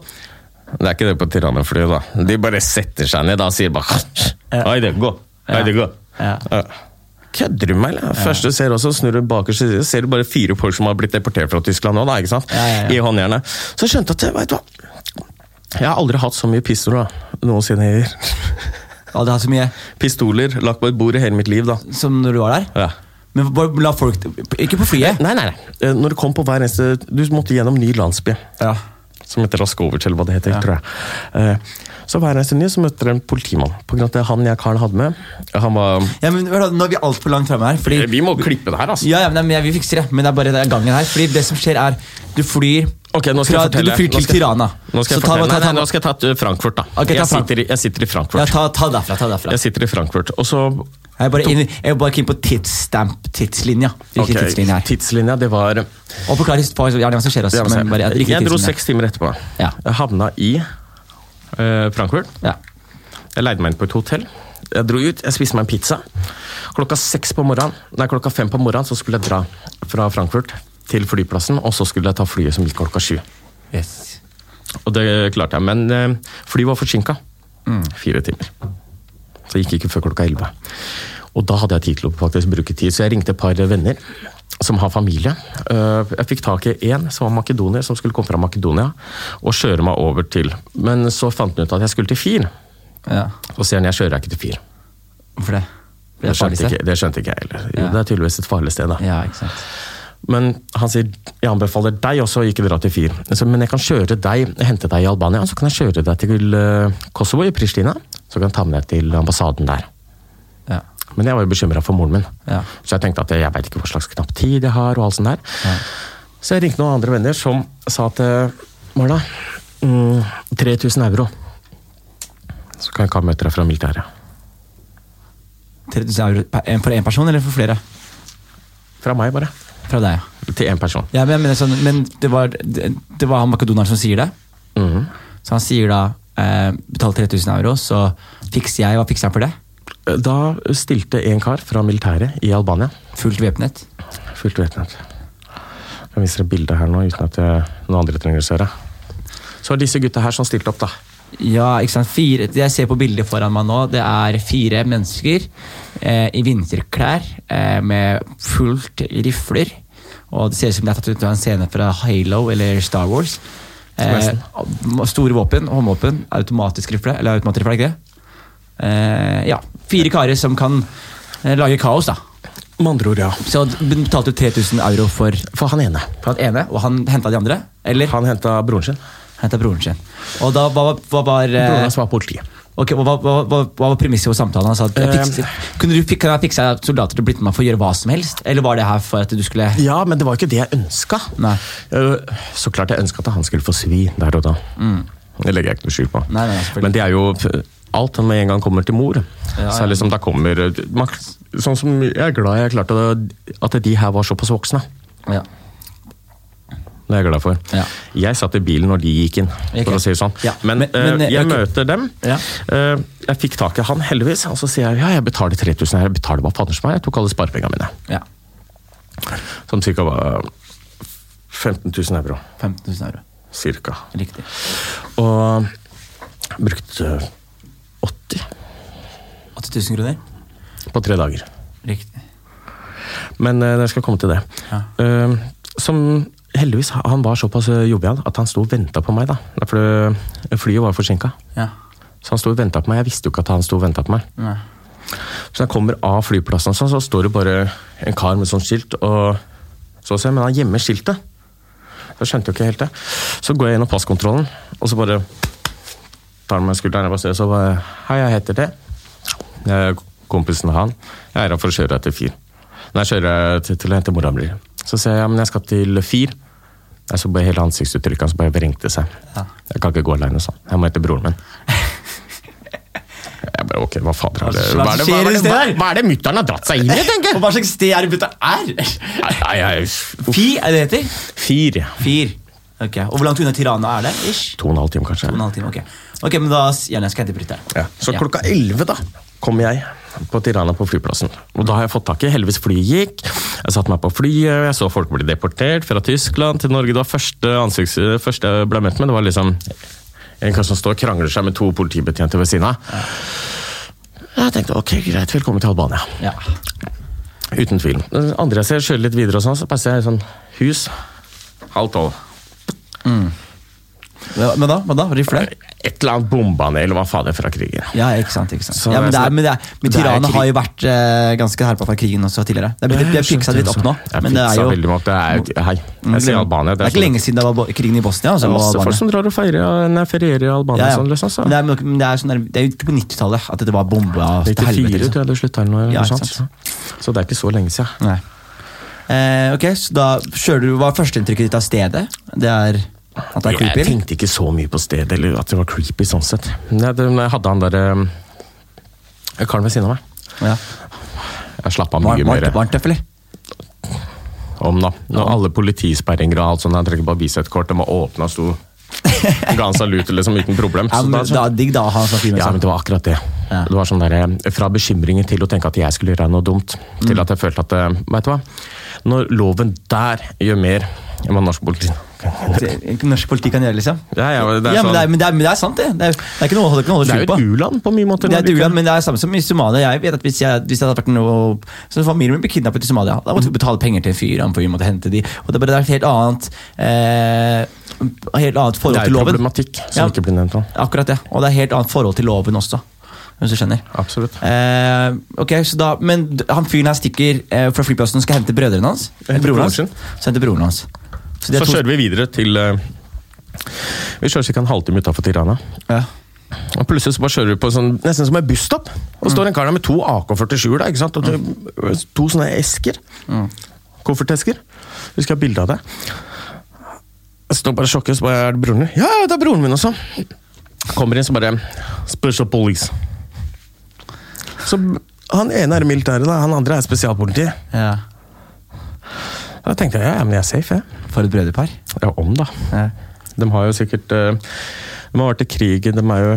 Det er ikke det på Tirana-flyet, da. De bare setter seg ned da og sier bare Ja. Oi, det går. Oi, det går. Ja. Ja. Kødder du meg, eller? Først du ser også, snur du bakerst, så ser du bare fire folk som har blitt deportert fra Tyskland nå, da, ikke sant? Ja, ja, ja. I håndjernet. Så jeg skjønte at, vet du hva Jeg har aldri hatt så mye pistoler da, noensinne. Ja, det har så mye Pistoler lagt på et bord i hele mitt liv, da. som når du var der. Ja. Men bare la folk Ikke på flyet. Nei, nei, nei. Eh, Når du kom på hver eneste Du måtte gjennom ny landsby. Ja. Som heter Raskovic, eller hva det heter. tror jeg. Eh, Så hver eneste ny så møtte dere en politimann. På grunn av at han jeg karen hadde med, han var ja, men hør da, Nå er vi altfor langt framme her. Fordi Eh, Vi må klippe det her, altså. Ja, ja, men, men Vi fikser det, men det er bare det er gangen her. Fordi det som skjer, er du flyr Ok, nå skal fra, jeg fortelle. Du flyr Nå til skal- Tirana. Nå skal jeg Så ta- ta- fortelle. Nei, nei, ta- nå skal jeg ta eh, Frankfurt, da. Ok, ta jeg, Frank- sitter i, jeg sitter i Ja, Frankfurt. ta, ta derfra. ta derfra Jeg sitter i Frankfurt, og så Jeg er bare inn, jeg er bare keen på tidsstamp, tidslinja. Riktig Ok, tidslinje her. tidslinja, det var Og forklar his- for- gjerne hva som skjer. Også, Ja, men se. men bare, riktig Jeg dro tidslinje. seks timer etterpå. Ja. Jeg havna i eh, Frankfurt. Ja. Jeg leide meg inn på et hotell. Jeg dro ut, jeg spiste meg en pizza. Klokka seks på morgenen, nei, klokka fem på morgenen så skulle jeg dra fra Frankfurt til flyplassen, og så skulle jeg ta flyet som gikk klokka sju. Og det klarte jeg, men eh, flyet var forsinka. Fire timer. Så det gikk ikke før klokka elleve. Og da hadde jeg tid til å faktisk bruke tid, så jeg ringte et par venner som har familie. Eh, Jeg fikk tak i én som var makedoner, som skulle komme fra Makedonia, og kjøre meg over til Men så fant hun ut at jeg skulle til Fir, ja. og sier han jeg kjører deg ikke til Fir. Hvorfor det? Fordi Det er farlig skjønte, sted? ikke, det skjønte ikke jeg heller. Jo, Ja. Det er tydeligvis et farlig sted, da. Ja, ikke sant. Men han sier jeg anbefaler deg også å ikke dra til Fyr. Så, men jeg kan kjøre deg, hente deg i Albania, så kan jeg kjøre deg til eh, Kosovo, i Pristina. Så kan jeg ta med deg til ambassaden der. Ja. Men jeg var jo bekymra for moren min, Ja. så jeg tenkte at jeg veit ikke hva slags knapp tid jeg har. og alt sånt der. Så jeg ringte noen andre venner som sa at eh, Marna, mm, 3000 euro. Så kan jeg ikke ha møter deg fra militæret. 3000 euro per- en- for én person, eller for flere? Fra meg, bare. Fra deg, ja. Til én person. ja men, jeg mener sånn, men det var, det, det var han makedoneren som sier det. Mm. Mhm. Så han sier da eh, betal 3000 euro, så fikser jeg Hva fikser han for det? Da stilte en kar fra militæret i Albania. Fullt væpnet. Fullt væpnet. Jeg viser et bilde her nå, uten at jeg, noen andre trenger å se det. Så var det disse gutta her som stilte opp, da. Ja, ikke sant. Fire, det jeg ser på bildet foran meg nå, det er fire mennesker eh, i vinterklær eh, med fullt rifler. Og det ser ut som det er tatt ut av en scene fra Halo eller Star Wars. Eh, Nesten. store våpen, håndvåpen, automatisk rifle. Eller automatrifle, er det ikke det? Eh, ja. Fire karer som kan eh, lage kaos, da. Med andre ord, ja. Så d- betalte du 3000 euro for, For han ene. for den ene, og han henta de andre? Eller Han henta broren sin. henta broren sin. Og da, hva, hva var eh, Broren hans var politiet. Ok, hva, hva, hva, hva var premisset for samtalen? Han sa at jeg Eh, fikser, kunne du fikse, fikse soldater til å bli med meg for å gjøre hva som helst? Eller var det her for at du skulle Ja, men det var ikke det jeg ønska. Nei. Så klart jeg ønska at han skulle få svi der og da. Det legger jeg ikke noe skyld på. Mm. Nei, nei, selvfølgelig. men det er jo alt han med en gang kommer til mor. Ja, ja. så er liksom, da kommer man, Sånn som jeg er glad jeg klarte å- at de her var såpass voksne. Ja. Det er jeg glad for. Ja. Jeg satt i bilen når de gikk inn, Ok. for å si det sånn. Ja. Men, Men- men, eh, jeg ok. møter dem. Ja. Eh, jeg fikk tak i han, heldigvis. Og så sier jeg ja, jeg betaler 3000 her. Jeg betaler hva fader som er. Jeg tok alle sparepengene mine. ja. Som cirka var 15 000 euro. 15 000 euro. Cirka. Riktig. Og eh, jeg brukte 80 80 000 kroner? på tre dager. Riktig. Men eh, jeg skal komme til det. Ja. Eh, som heldigvis, han var såpass eh, jovial at han sto og venta på meg, da. For eh, flyet var forsinka. Ja. Så han sto og venta på meg. Jeg visste jo ikke at han sto og venta på meg. Nei. Så når jeg kommer av flyplassen, og sånn, så står det bare en kar med sånt skilt. og så ser jeg, Men han gjemmer skiltet. Jeg skjønte jo ikke helt det. Så går jeg gjennom passkontrollen, og så bare tar han meg i skulderen. Jeg bare ser, så bare, Hei, jeg heter det. Jeg er kompisen av han. Jeg er her for å kjøre deg til Fyr. Nei, jeg kjører deg til, til å hente mora mi. Så sier jeg ja, men jeg skal til Fyr. Jeg så bare hele ansiktsuttrykket hans bare vrengte seg. Ja. Jeg kan ikke gå aleine sånn. Jeg må hente broren min. Jeg bare, ok, hva fader har det Hva Hva er det, hva skjer er i det, stedet hva, her? hva er det mutter'n har dratt seg inn i, tenker jeg? Og hva slags sted er det butta er? Nei, nei, jeg- Fi, er det det heter? Fyr. Fir. Ok, Og hvor langt unna Tirana er det? Ish? To og en halv time, kanskje. To og en halv time, ok. Ok, men da s- gjerne jeg skal hente bryteren. Ja. Så klokka 11 da kommer jeg på Tirana på flyplassen. Og da har jeg fått tak i Heldigvis flyet gikk. Jeg satte meg på flyet, jeg så folk bli deportert fra Tyskland til Norge. Det var første, ansikts, første jeg ble møtt med, det var liksom en kar som står og krangler seg med to politibetjenter ved siden av. Jeg tenkte ok, greit, velkommen til Albania. Ja. Uten tvil. Den andre jeg ser, kjører litt videre, og sånn, så passer jeg i sånn hus. Halv tolv. Ja, Men da? Hva da? Var de flau? Et eller annet bomba ned, eller hva faen det er fra krigen. Ja, ikke sant. ikke sant. Så Ja, men, det det er er, men, det er, men det er Tirana krig. har jo vært eh, ganske herpa fra krigen også tidligere. Det er blitt- Jeg det er fiksa skjønte litt det opp også. nå. Jeg men det er jo fiksa Mm, veldig mye opp. Det er, hei, jeg sier Albania. Det er ikke sånn- lenge siden det var bo- krigen i Bosnia. Altså, Det er masse Albania. folk som drar og feirer, nei, ferierer i Albania. Ja, ja. Sånn, liksom, så. Men det er, nok- men det er, sånn, der- det er jo ikke på 90-tallet at dette var bomba til 94 helvete. tror Liksom. jeg det slutta. eller noe Ja, ikke sånt. sant. Så det er ikke så lenge siden. Nei. Eh, ok, så da kjører du, Hva er førsteinntrykket ditt av stedet? Det er at det er Jeg creepy? tenkte ikke så mye på stedet, eller at det var creepy sånn sett. Nei, det, når jeg hadde han der um, karen ved siden av meg. Ja. Jeg slapp av Varmt, mye varmt, mer varmt tøff, eller? om, da. Når alle politisperringer og alt sånt, han trenger bare vise et kort, de må åpne og sto Ga han saluter liksom uten problem. Ja, Så men, da, da- digg da å ha en sånn fyr med Ja, seg. men det var akkurat det. Ja. Det var sånn der, eh, Fra bekymringen til å tenke at jeg skulle gjøre noe dumt, Mm. til at jeg følte at eh, Vet du hva? Når loven der gjør mer enn hva norsk politi Det- Norsk politi kan gjøre liksom. Ja, ja, det er Ja, men det er, sånn- men det er, men det er sant, det. Det er, det er ikke noe å holde, ikke noe å det holde skjul er på. jo et u-land på mye måter. Det er et likevel. u-land, men det er samme som i Somalia. Jeg vet at Hvis jeg, hvis jeg hadde vært noe Så familien min ble kidnappet i Somalia. Da måtte vi betale penger til en fyr, han for vi måtte hente de. Og det er bare et helt annet eh, Helt annet Det forhold er til jo loven. problematikk som Ja. ikke blir nevnt. nå. Akkurat det. Og det er helt annet forhold til loven også, hvis du skjønner. Absolutt. Eh, ok, så da Men d- han fyren her stikker eh, fra flyplassen og skal hente brødrene hans. Henter Broren hans. broren sin. Så henter broren hans. de Så er to- kjører vi videre til eh, Vi kjører ca. en halvtime utafor Tirana. ja. Og plutselig så bare kjører vi på sånn, nesten som en busstopp. Og står en kar der med to AK-47 da, ikke sant? Og to, to sånne esker. Koffertesker. Husker jeg har bilde av det. Jeg står bare sjokket, så bare er det broren min. Ja, ja, det er broren min også! Kommer inn, så bare Special police. Så han ene er i militæret, da. Han andre er spesialpoliti. ja. Da tenkte jeg ja, ja, men jeg er safe, jeg. For et brødrepar. Ja, om, da. Ja. De har jo sikkert eh, De har vært i krigen, de er jo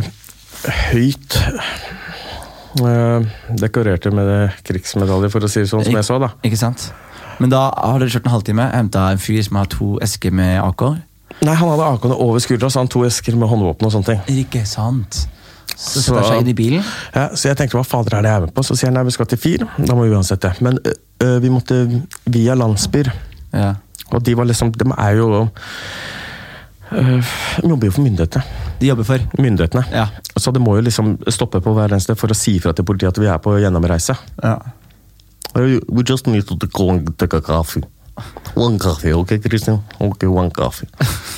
høyt eh, dekorerte med krigsmedaljer, for å si det sånn som jeg så, da. Ikke sant? Men da har dere kjørt en halvtime, henta en fyr som har to esker med AK. Nei, han hadde AK-ene over skuldra, så han to esker med håndvåpen og sånne ting. Ikke sant? Så Så- setter han seg inn i bilen. Ja, så jeg tenkte hva fader er det jeg er med på? Så sier han nei, vi skal til Fir. Da må vi uansett det. Men ø, ø, vi måtte via landsbyer. Ja. Og de var liksom De er jo ø, De jobber jo for myndighetene. De jobber for. myndighetene. Ja. Så det må jo liksom stoppe på hver eneste for å si ifra til politiet at vi er på gjennomreise. Ja. Uh, We just need to take one, take a coffee. One coffee, ok, Christian? Ok, one coffee.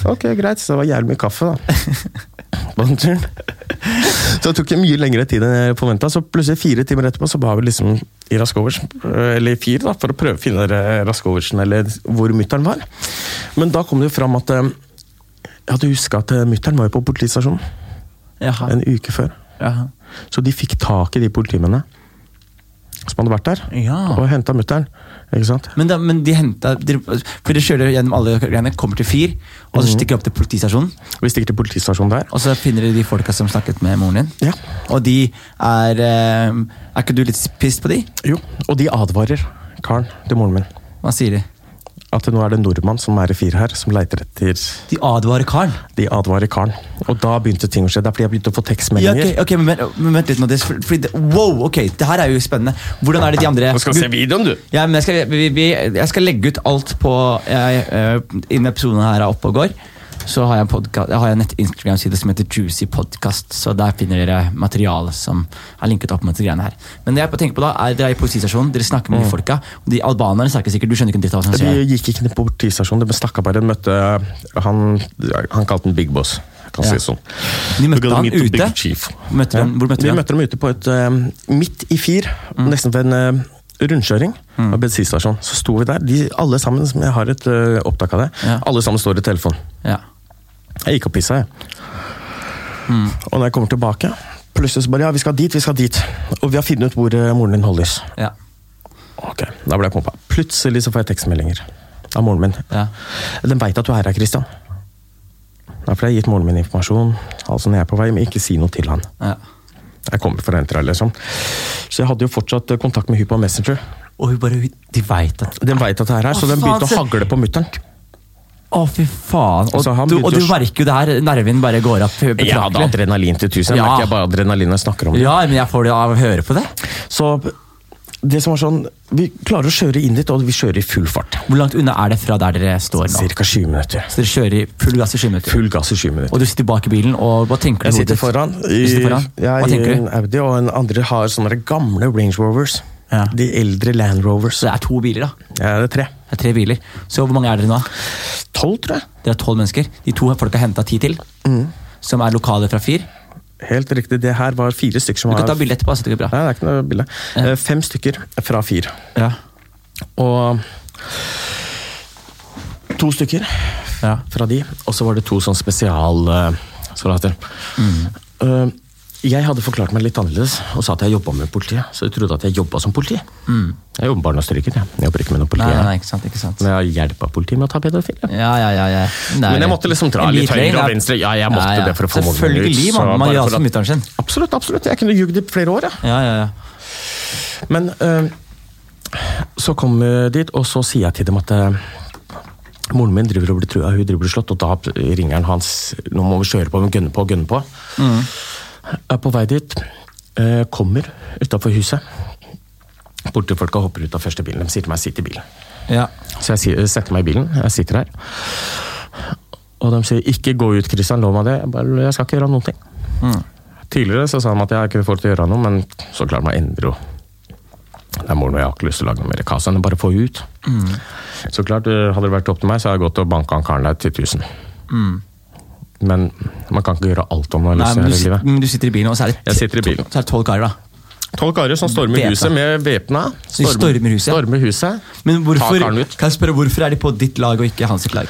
ok, greit. Så det var jævlig mye kaffe, da. På den turen. Så det tok jo mye lengre tid enn jeg forventa. Så plutselig fire timer etterpå så var vi liksom i Raskovers, eller i Fir, da, for å prøve å finne eh, Raskoversen, eller hvor mutter'n var. Men da kom det jo fram at eh, jeg hadde huska at mutter'n var jo på politistasjonen Jaha. en uke før. Jaha. Så de fikk tak i de politimennene som hadde vært der, Ja. og henta mutter'n. Ikke sant? Men, da, men de henta dere- For dere kjører gjennom alle greiene, kommer til fyr, og Mhm. så stikker dere opp til politistasjonen. Vi stikker til politistasjonen der. Og så finner dere de folka som snakket med moren din. Ja. Og de er eh, Er ikke du litt pissed på de? Jo, og de advarer karen til moren min Hva sier de? at nå er det en nordmann som er i fire her, som leiter etter De advarer karen. De advarer karen. Og da begynte ting å skje. Det er fordi jeg begynte å få Ja, tekstmeldinger. ok, ok, men, vent- men vent litt nå. Det, for, fordi det, wow, ok, det her er jo spennende. Hvordan er det de andre videoen, du! Ja, men jeg skal, vi, vi, jeg skal legge ut alt på jeg, eh, Innen episoden her er oppe og går, så har jeg en, podka- jeg har en nett- Instagram-side som heter Juicy Podcast. Så der finner dere materiale som er linket opp mot de greiene her. Men det jeg tenker på da, er dere er i politistasjonen, dere snakker med de folka. og De albanerne snakker sikkert, du skjønner ikke en dritt av hva som De skjer. gikk ikke ned på politistasjonen, de snakka bare. De møtte eh, Han, han kalte den Big Boss. Jeg kan Ja. si det sånn. De We're møtte gonna han meet the ute. Big Chief. Møtte Ja. dem, hvor møtte vi de Mm. han? møtte dem ute på et eh, midt i Fir, nesten ved en eh, rundkjøring Mm. av bensinstasjon. Så sto vi der, de, alle sammen, som jeg har et eh, opptak av det, Ja. alle sammen står i telefonen. Ja. Jeg gikk og pissa, jeg. Mm. Og når jeg kommer tilbake, plutselig så bare ja, vi skal dit, vi skal dit. Og vi har funnet ut hvor eh, moren din holdes. Ja. Ok, da ble jeg pumpa. Plutselig så får jeg tekstmeldinger av moren min. Ja. Den veit at du er her, Christian. Derfor har jeg gitt moren min informasjon. Altså når jeg er på vei, men ikke si noe til han. Ja. Jeg kommer for å hente deg, liksom. Så jeg hadde jo fortsatt eh, kontakt med hun på Messenger. Og hun bare De veit at Den veit at det er her, så Å, den begynte å faen, så- hagle på mutter'n. Å, fy faen. Og, Altså, han du, og begynte du jo å- merker jo det her. Nerven bare går opp betraktelig. Jeg hadde adrenalin til tusen. Jeg Ja. merker jeg bare adrenalinet snakker om det. Ja, men jeg får det av å høre på det. Så det som var sånn Vi klarer å kjøre inn dit, og vi kjører i full fart. Hvor langt unna er det fra der dere står nå? Cirka 20 minutter. Så dere kjører i full gass i 20 minutter. Full gass i 20 minutter. Og du sitter bak i bilen, og hva tenker du? Jeg i hodet ditt? sitter foran i, Du sitter foran. jeg Hva i tenker en du? Audi, og en andre har sånne der gamle Range Rovers. Ja. De eldre Land Rovers. Så det er to biler, da. Ja, det er tre. Det er tre biler. Så hvor mange er dere nå? Tolv, tror jeg. Dere er tolv mennesker. De to folka henta ti til. Mm. Som er lokale fra FIR. Helt riktig. Det her var fire stykker som Du var kan ta bilde etterpå. så det går bra. Nei, det er ikke noe bilde. Eh, Fem stykker fra fire. Ja. Og to stykker Ja. fra de, og så var det to sånn spesialsoldater. Mm. Uh, jeg hadde forklart meg litt annerledes og sa at jeg jobba med politiet. Så de trodde at jeg jobba som politi. Jeg jobber bare med stryker, jeg. Jeg jobber ikke med noe Nei, politi. Mm. nei, jeg. nei, ikke sant. ikke sant. Men jeg har hjelpa politiet med å ta pedofile. Ja, ja, ja. ja. Det er- Men jeg måtte liksom dra En litt hvit løgn, høyre og ja. venstre. Ja, jeg måtte Ja, ja. det for å få moren min ut. Selvfølgelig, så man, man bare gjør for alt som at- mutter'n sin. Absolutt, absolutt. Jeg kunne ljugd i flere år, jeg. Ja, ja, ja. Men eh, så kom jeg dit, og så sier jeg til dem at eh, moren min driver og blir trua, hun driver og blir slått, og da ringer han hans Nå må vi kjøre på, men gønne på, gønne på. Jeg er på vei dit, eh, kommer utafor huset. Politifolka hopper ut av første bilen. De sier til meg 'sitt i bilen'. ja. Så jeg sier- setter meg i bilen. Jeg sitter her. Og de sier 'ikke gå ut, Christian, lov meg det'. Jeg bare 'jeg skal ikke gjøre noen ting'. Mm. Tidligere så sa han at jeg ikke får til å gjøre noe, men så klarer man å endre henne. Det er moren og jeg har ikke lyst til å lage noe mer kaos enn å bare få henne ut. Mm. Så klart, eh, hadde det vært opp til meg, så hadde jeg gått og banka han karen der til 1000. Men man kan ikke gjøre alt om man har Mm. Nei, men lyst til å du, gjøre i sit- livet. men du sitter i bilen, og så er det Jeg sitter i bilen. så er det tolv karer, da. Tolv karer som stormer Væpna. huset med væpna. Så de stormer huset? Stormer huset. Men hvorfor, Ta karen ut. kan jeg spørre, hvorfor er de på ditt lag og ikke hans sitt lag?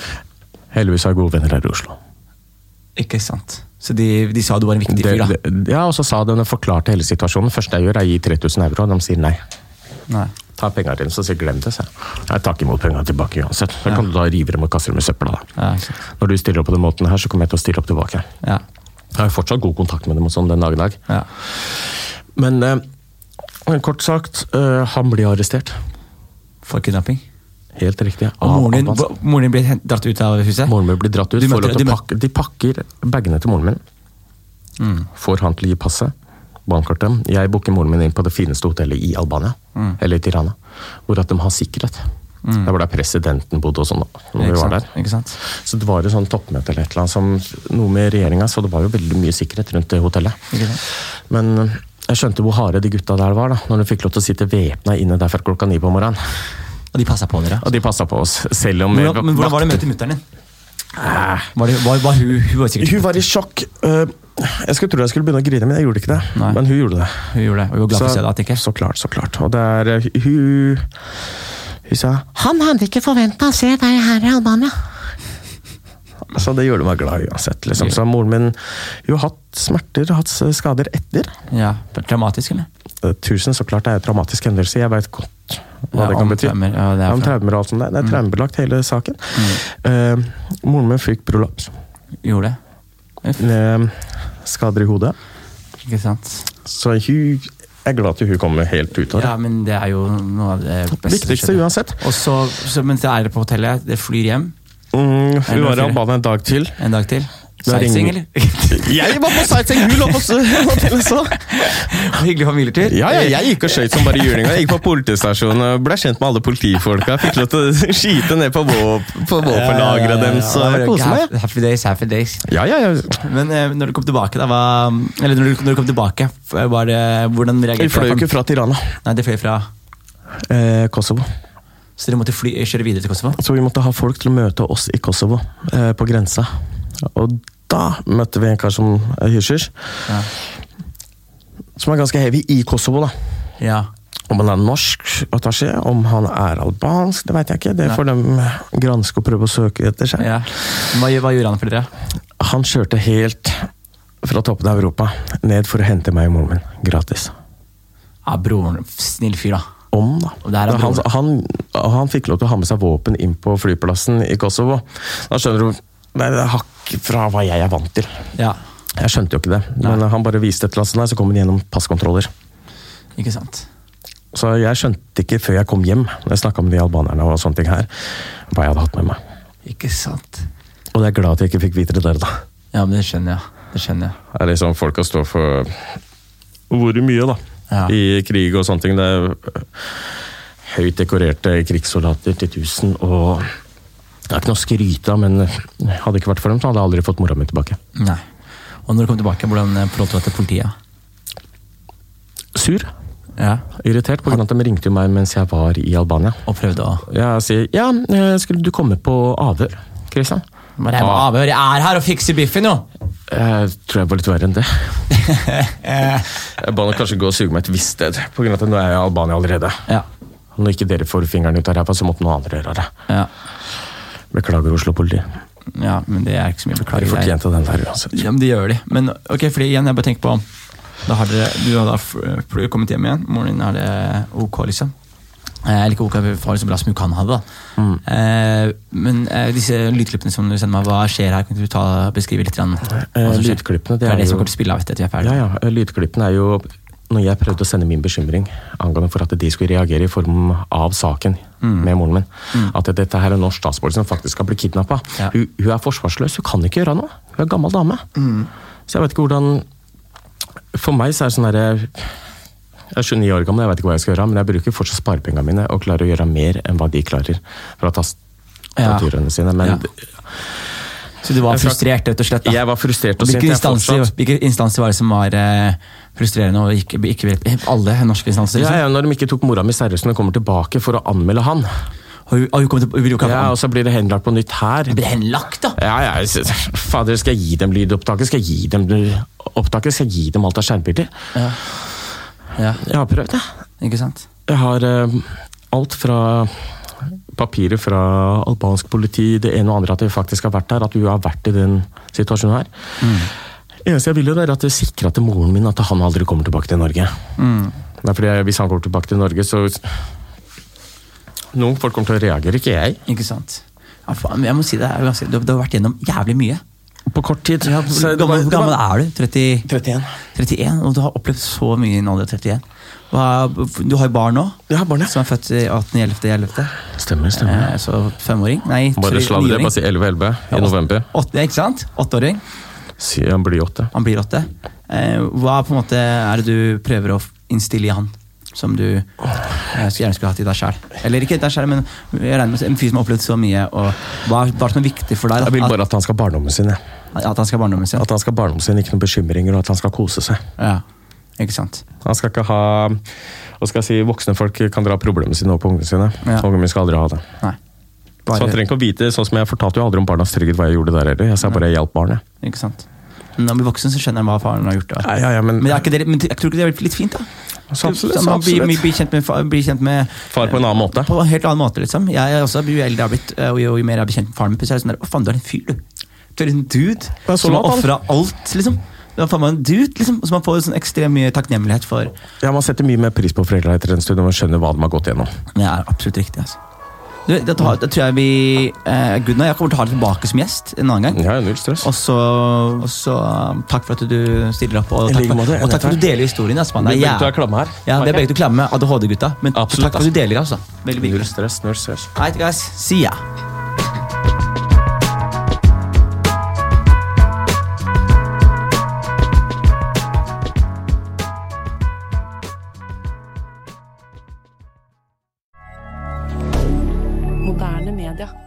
Heldigvis har jeg gode venner her i Oslo. Ikke sant? Så de, de sa du var en viktig Det, fyr, da? det, ja, og så sa den forklarte hele situasjonen. Første jeg gjør, er å gi 3000 euro, og de sier nei. Nei. Ta pengene dine, så sier jeg, glem det. Så. Jeg tar ikke imot pengene tilbake uansett. Så kan du da rive dem og kaste dem i søpla. da. Ja, ikke sant. Når du stiller opp på den måten her, så kommer jeg til å stille opp tilbake. Ja. Jeg har jo fortsatt god kontakt med dem og sånn den dag i dag. ja. Men eh, kort sagt, eh, han blir arrestert. For kidnapping? Helt riktig. Og av moren din, Abbas. hva- moren din ble hent- dratt ut av huset? altså. Moren min blir dratt ut. Du møtte- får lov til du å møtte- pakke, de pakker bagene til moren min. Mm, Får han til å gi passet. Bankkortet. Jeg booker moren min inn på det fineste hotellet i Albania. Mm. Eller i Tirana. Hvor at de har sikkerhet. Det var der presidenten bodde og sånn. da, Når vi Ikke var sant? der. Ikke sant? Så det var jo sånn toppmøte eller et eller annet, som, noe med regjeringa, så det var jo veldig mye sikkerhet rundt det hotellet. Ikke sant? Men øh, jeg skjønte hvor harde de gutta der var, da, når de fikk lov til å sitte væpna inne der fra klokka ni på morgenen. Og de passa på dere? Og de passa på oss, selv om Hvordan, men hvordan var det å møte mutter'n din? Var det, var, var hun, hun var sikkert Ah. Hun var i sjokk. Øh, Jeg skulle tro jeg skulle begynne å grine, men jeg gjorde ikke det. Nei. Men hun gjorde det. Hun gjorde det, og vi var glad for å se deg. tenker jeg. så klart, så klart. Og det er øh, Hun Hun sa Han hadde ikke forventa å se deg her i Albania. Altså, det gjorde meg glad uansett. Liksom. Så moren min Hun har hatt smerter, hatt skader etter. Ja, Dramatisk, eller? Eh, Tusen, så klart det er en traumatisk hendelse. Jeg veit godt hva Ja, det om kan bety. traumer, ja, Mm. det er om fra- traumer og alt sånt. der. Det er traumebelagt, hele saken. Eh, moren min fikk prolaps. Gjorde det? Uff, Eh, skader i hodet. ikke sant? Så hun jeg er glad til hun kommer helt ut av det. Ja, men det er jo noe av det beste som Viktigste skjedde. uansett. Og så, så mens jeg er på hotellet, det flyr hjem Mm, hun var i fire. Albania en dag til. en dag til. Da Sightseeing, ringer- eller? Jeg var på sightseeing, hun lå på s- hotellet så! Hyggelig familietur. Ja, ja, jeg gikk og skøyt som bare juling. og Jeg gikk på politistasjonen og ble kjent med alle politifolka. Fikk lov til å skyte ned på, våp på våpenlageret deres. Så jeg koste meg. Happy- Happy days, happy days. Ja, ja, ja. Men eh, når du kom tilbake, da, hva Eller når du, når du kom tilbake, f- var det Hvordan Vi reagerte fløy jo ikke fra Tirana, Nei, det fløy fra eh, Kosovo. Så dere måtte fly, kjøre videre til Kosovo? Så vi måtte ha folk til å møte oss i Kosovo, eh, på grensa. Og da møtte vi en kar som er hysjer. Ja. Som er ganske heavy i Kosovo, da. Ja. Om han er norsk attaché, om han er albansk, det veit jeg ikke. Det får de granske og prøve å søke etter seg. ja. Hva, gjør- hva gjorde han for dere? Han kjørte helt fra toppen av Europa ned for å hente meg og moren min. Gratis. Ja, broren Snill fyr, da. Om, da. Og der er Men han, broren. han, han fikk lov til å ha med seg våpen inn på flyplassen i Kosovo. Da skjønner du Nei, det har vekk fra hva jeg er vant til. Ja, Jeg skjønte jo ikke det, men han bare viste et eller annet sånt, her, så kom han gjennom passkontroller. ikke sant. Så jeg skjønte ikke før jeg kom hjem, når jeg snakka med de albanerne og sånne ting her, hva jeg hadde hatt med meg. Ikke sant. Og jeg er glad at jeg ikke fikk vite det der, da. Ja, men det skjønner jeg. Det skjønner jeg. Det er liksom folk som står for hvor mye, da. Ja. I krig og sånne ting. Det er øh, høyt dekorerte krigssoldater til 1000, og det er ikke noe å skryte av, men hadde det ikke vært for dem, så hadde jeg aldri fått mora mi tilbake. Nei. Og når du kom tilbake, hvordan eh, forholdt du deg til politiet? Sur. Ja. Irritert pga. at de ringte jo meg mens jeg var i Albania. Og prøvde å Jeg sier ja, eh, skulle du komme på avhør, Kristian? Bare jeg må avhøre, jeg er her og fikser biffen, jo! Jeg tror jeg var litt verre enn det. Jeg ba nok kanskje gå og suge meg et visst sted, pga. at nå er jeg i Albania allerede. Ja. Når ikke dere får fingeren ut av ræva, så måtte noen andre gjøre det. ja. Beklager, Oslo-politi. Ja, men det er ikke så mye å De beklage. Det er- fortjente den der uansett. Ja, men det gjør de. Men ok, fordi igjen, jeg bare tenker på Da har dere Du har da f- for du har kommet hjem igjen. Moren din har det ok, liksom. Eh, Eller ikke ok, vi har det så bra som hun kan ha det. da. Eh, men eh, disse lydklippene som du sender meg, hva skjer her? Kan du ta, beskrive litt? Grann, hva som skjer? lydklippene, det Eh, det er er det som jo- kommer til å spille av etter at vi er Ja, ferdige. ja. eh, Lydklippene er jo når jeg prøvde å sende min bekymring angående for at de skulle reagere i form av saken med moren min. At dette her er en norsk statsborger som faktisk skal bli kidnappa. Ja. Hun, hun er forsvarsløs, hun kan ikke gjøre noe. Hun er en gammel dame. Så jeg vet ikke hvordan For meg så er det sånn herre jeg er 29 år gammel, jeg vet ikke hva jeg skal gjøre, men jeg bruker fortsatt sparepengene mine og klarer å gjøre mer enn hva de klarer fra tastaturene sine. Men Ja. Så du var Jeg er fra- frustrert, rett og slett? da. jeg var frustrert og sint. Hvilke jeg instanser, fortsatt- hvilke instanser var det som var eh, frustrerende og ikke, ikke ville- eh, Alle norske instanser? Ja, Liksom. ja, når de ikke tok mora mi seriøst når de kommer tilbake for å anmelde han. Og hun, og hun kom til, hun ville jo ikke Ja, ha Og så blir det henlagt på nytt her. Ble henlagt, da! Ja, ja, jeg s- fader, skal jeg gi dem lydopptaket? Skal jeg gi dem opptaket? Skal jeg gi dem alt av skjermbilder? Ja, Jeg har prøvd, jeg. ikke sant? Jeg har eh, alt fra papirer fra albansk politi, det ene og andre, at jeg faktisk har vært der, at hun har vært i den situasjonen her. Mm. Det eneste jeg vil, jo, det er at det sikrer at moren min at han aldri kommer tilbake til Norge. Mm. Det er fordi jeg- Hvis han kommer tilbake til Norge, så Noen folk kommer til å reagere, ikke jeg. Ikke sant? Ja, faen, jeg må si det er jo ganske, du, du har vært gjennom jævlig mye. På kort tid. Hvor Så det var- gammel, det hvor var- gammel er du? 30, 31. 31? Og du har opplevd så mye i en alder av 31. Hva, du har jo barn nå, Jeg har barn, jeg. som er født i 18.11.11. Stemmer, Eh, så femåring? Nei, Mhm. Bare tre- sladre. niåring. Bare si 11-11 i november. Åtte, ikke sant? Åtteåring. Si han blir åtte. Han blir åtte. Eh, hva på en måte er det du prøver å innstille i han? Som du eh, så gjerne skulle hatt i deg sjæl. Eller ikke deg sjæl, men jeg regner med en fyr som har opplevd så mye. Og hva, hva er det som er viktig for deg? Jeg da? vil bare at han skal ha barndommen sin. jeg. At, at han skal ha barndommen sin? At han skal ha barndommen sin, ikke noen bekymringer, og at han skal kose seg. Ja, ikke sant? Han skal ikke ha Hva skal jeg si, voksne folk kan dra problemene sine over på ungene sine. Ja. Ungene mine skal aldri ha det. Nei. Så han Bare, trenger ikke å vite, sånn som jeg fortalte jo aldri om barnas trygghet, hva jeg gjorde der heller. Jeg sa bare jeg hjalp barnet. ikke sant? Når han blir voksen, så skjønner han hva faren har gjort. Da. Ja, ja, ja, men- men, er ikke det, men jeg tror ikke det er litt fint, da? Så absolutt, så Man blir- absolutt. blir kjent med, fa- blir kjent med Far på en annen måte. På en helt annen måte, liksom. Jeg er også, jo eldre jeg har blitt, eh, og jo, jo mer jeg har blitt kjent med faren min, så er det sånn der, å faen, du er en fyr, du. Du er en dude er som har soldat, han. ofra alt, liksom. Du er faen meg en dude, liksom. Så man får sånn ekstremt mye takknemlighet for Ja, Man setter mye mer pris på foreldra etter en stund når man skjønner hva de har gått gjennom. Det er absolutt riktig, altså. Du, det, tar, det tror jeg vi eh, Gunnar, jeg kommer til å ha deg tilbake som gjest en annen gang. Ja, ja, null stress. Og så, og så um, takk for at du stiller opp, og I takk like for, måte, og takk for at takk. du deler historien. Altså, man. Det er Begge to jæv- er klamme her. Ja, det er begge to klamme, ADHD-gutta. Men Absolutt, takk for at du deler, altså. Veldig Null viktig. stress, null stress. All right, guys. See ya. Moderne media.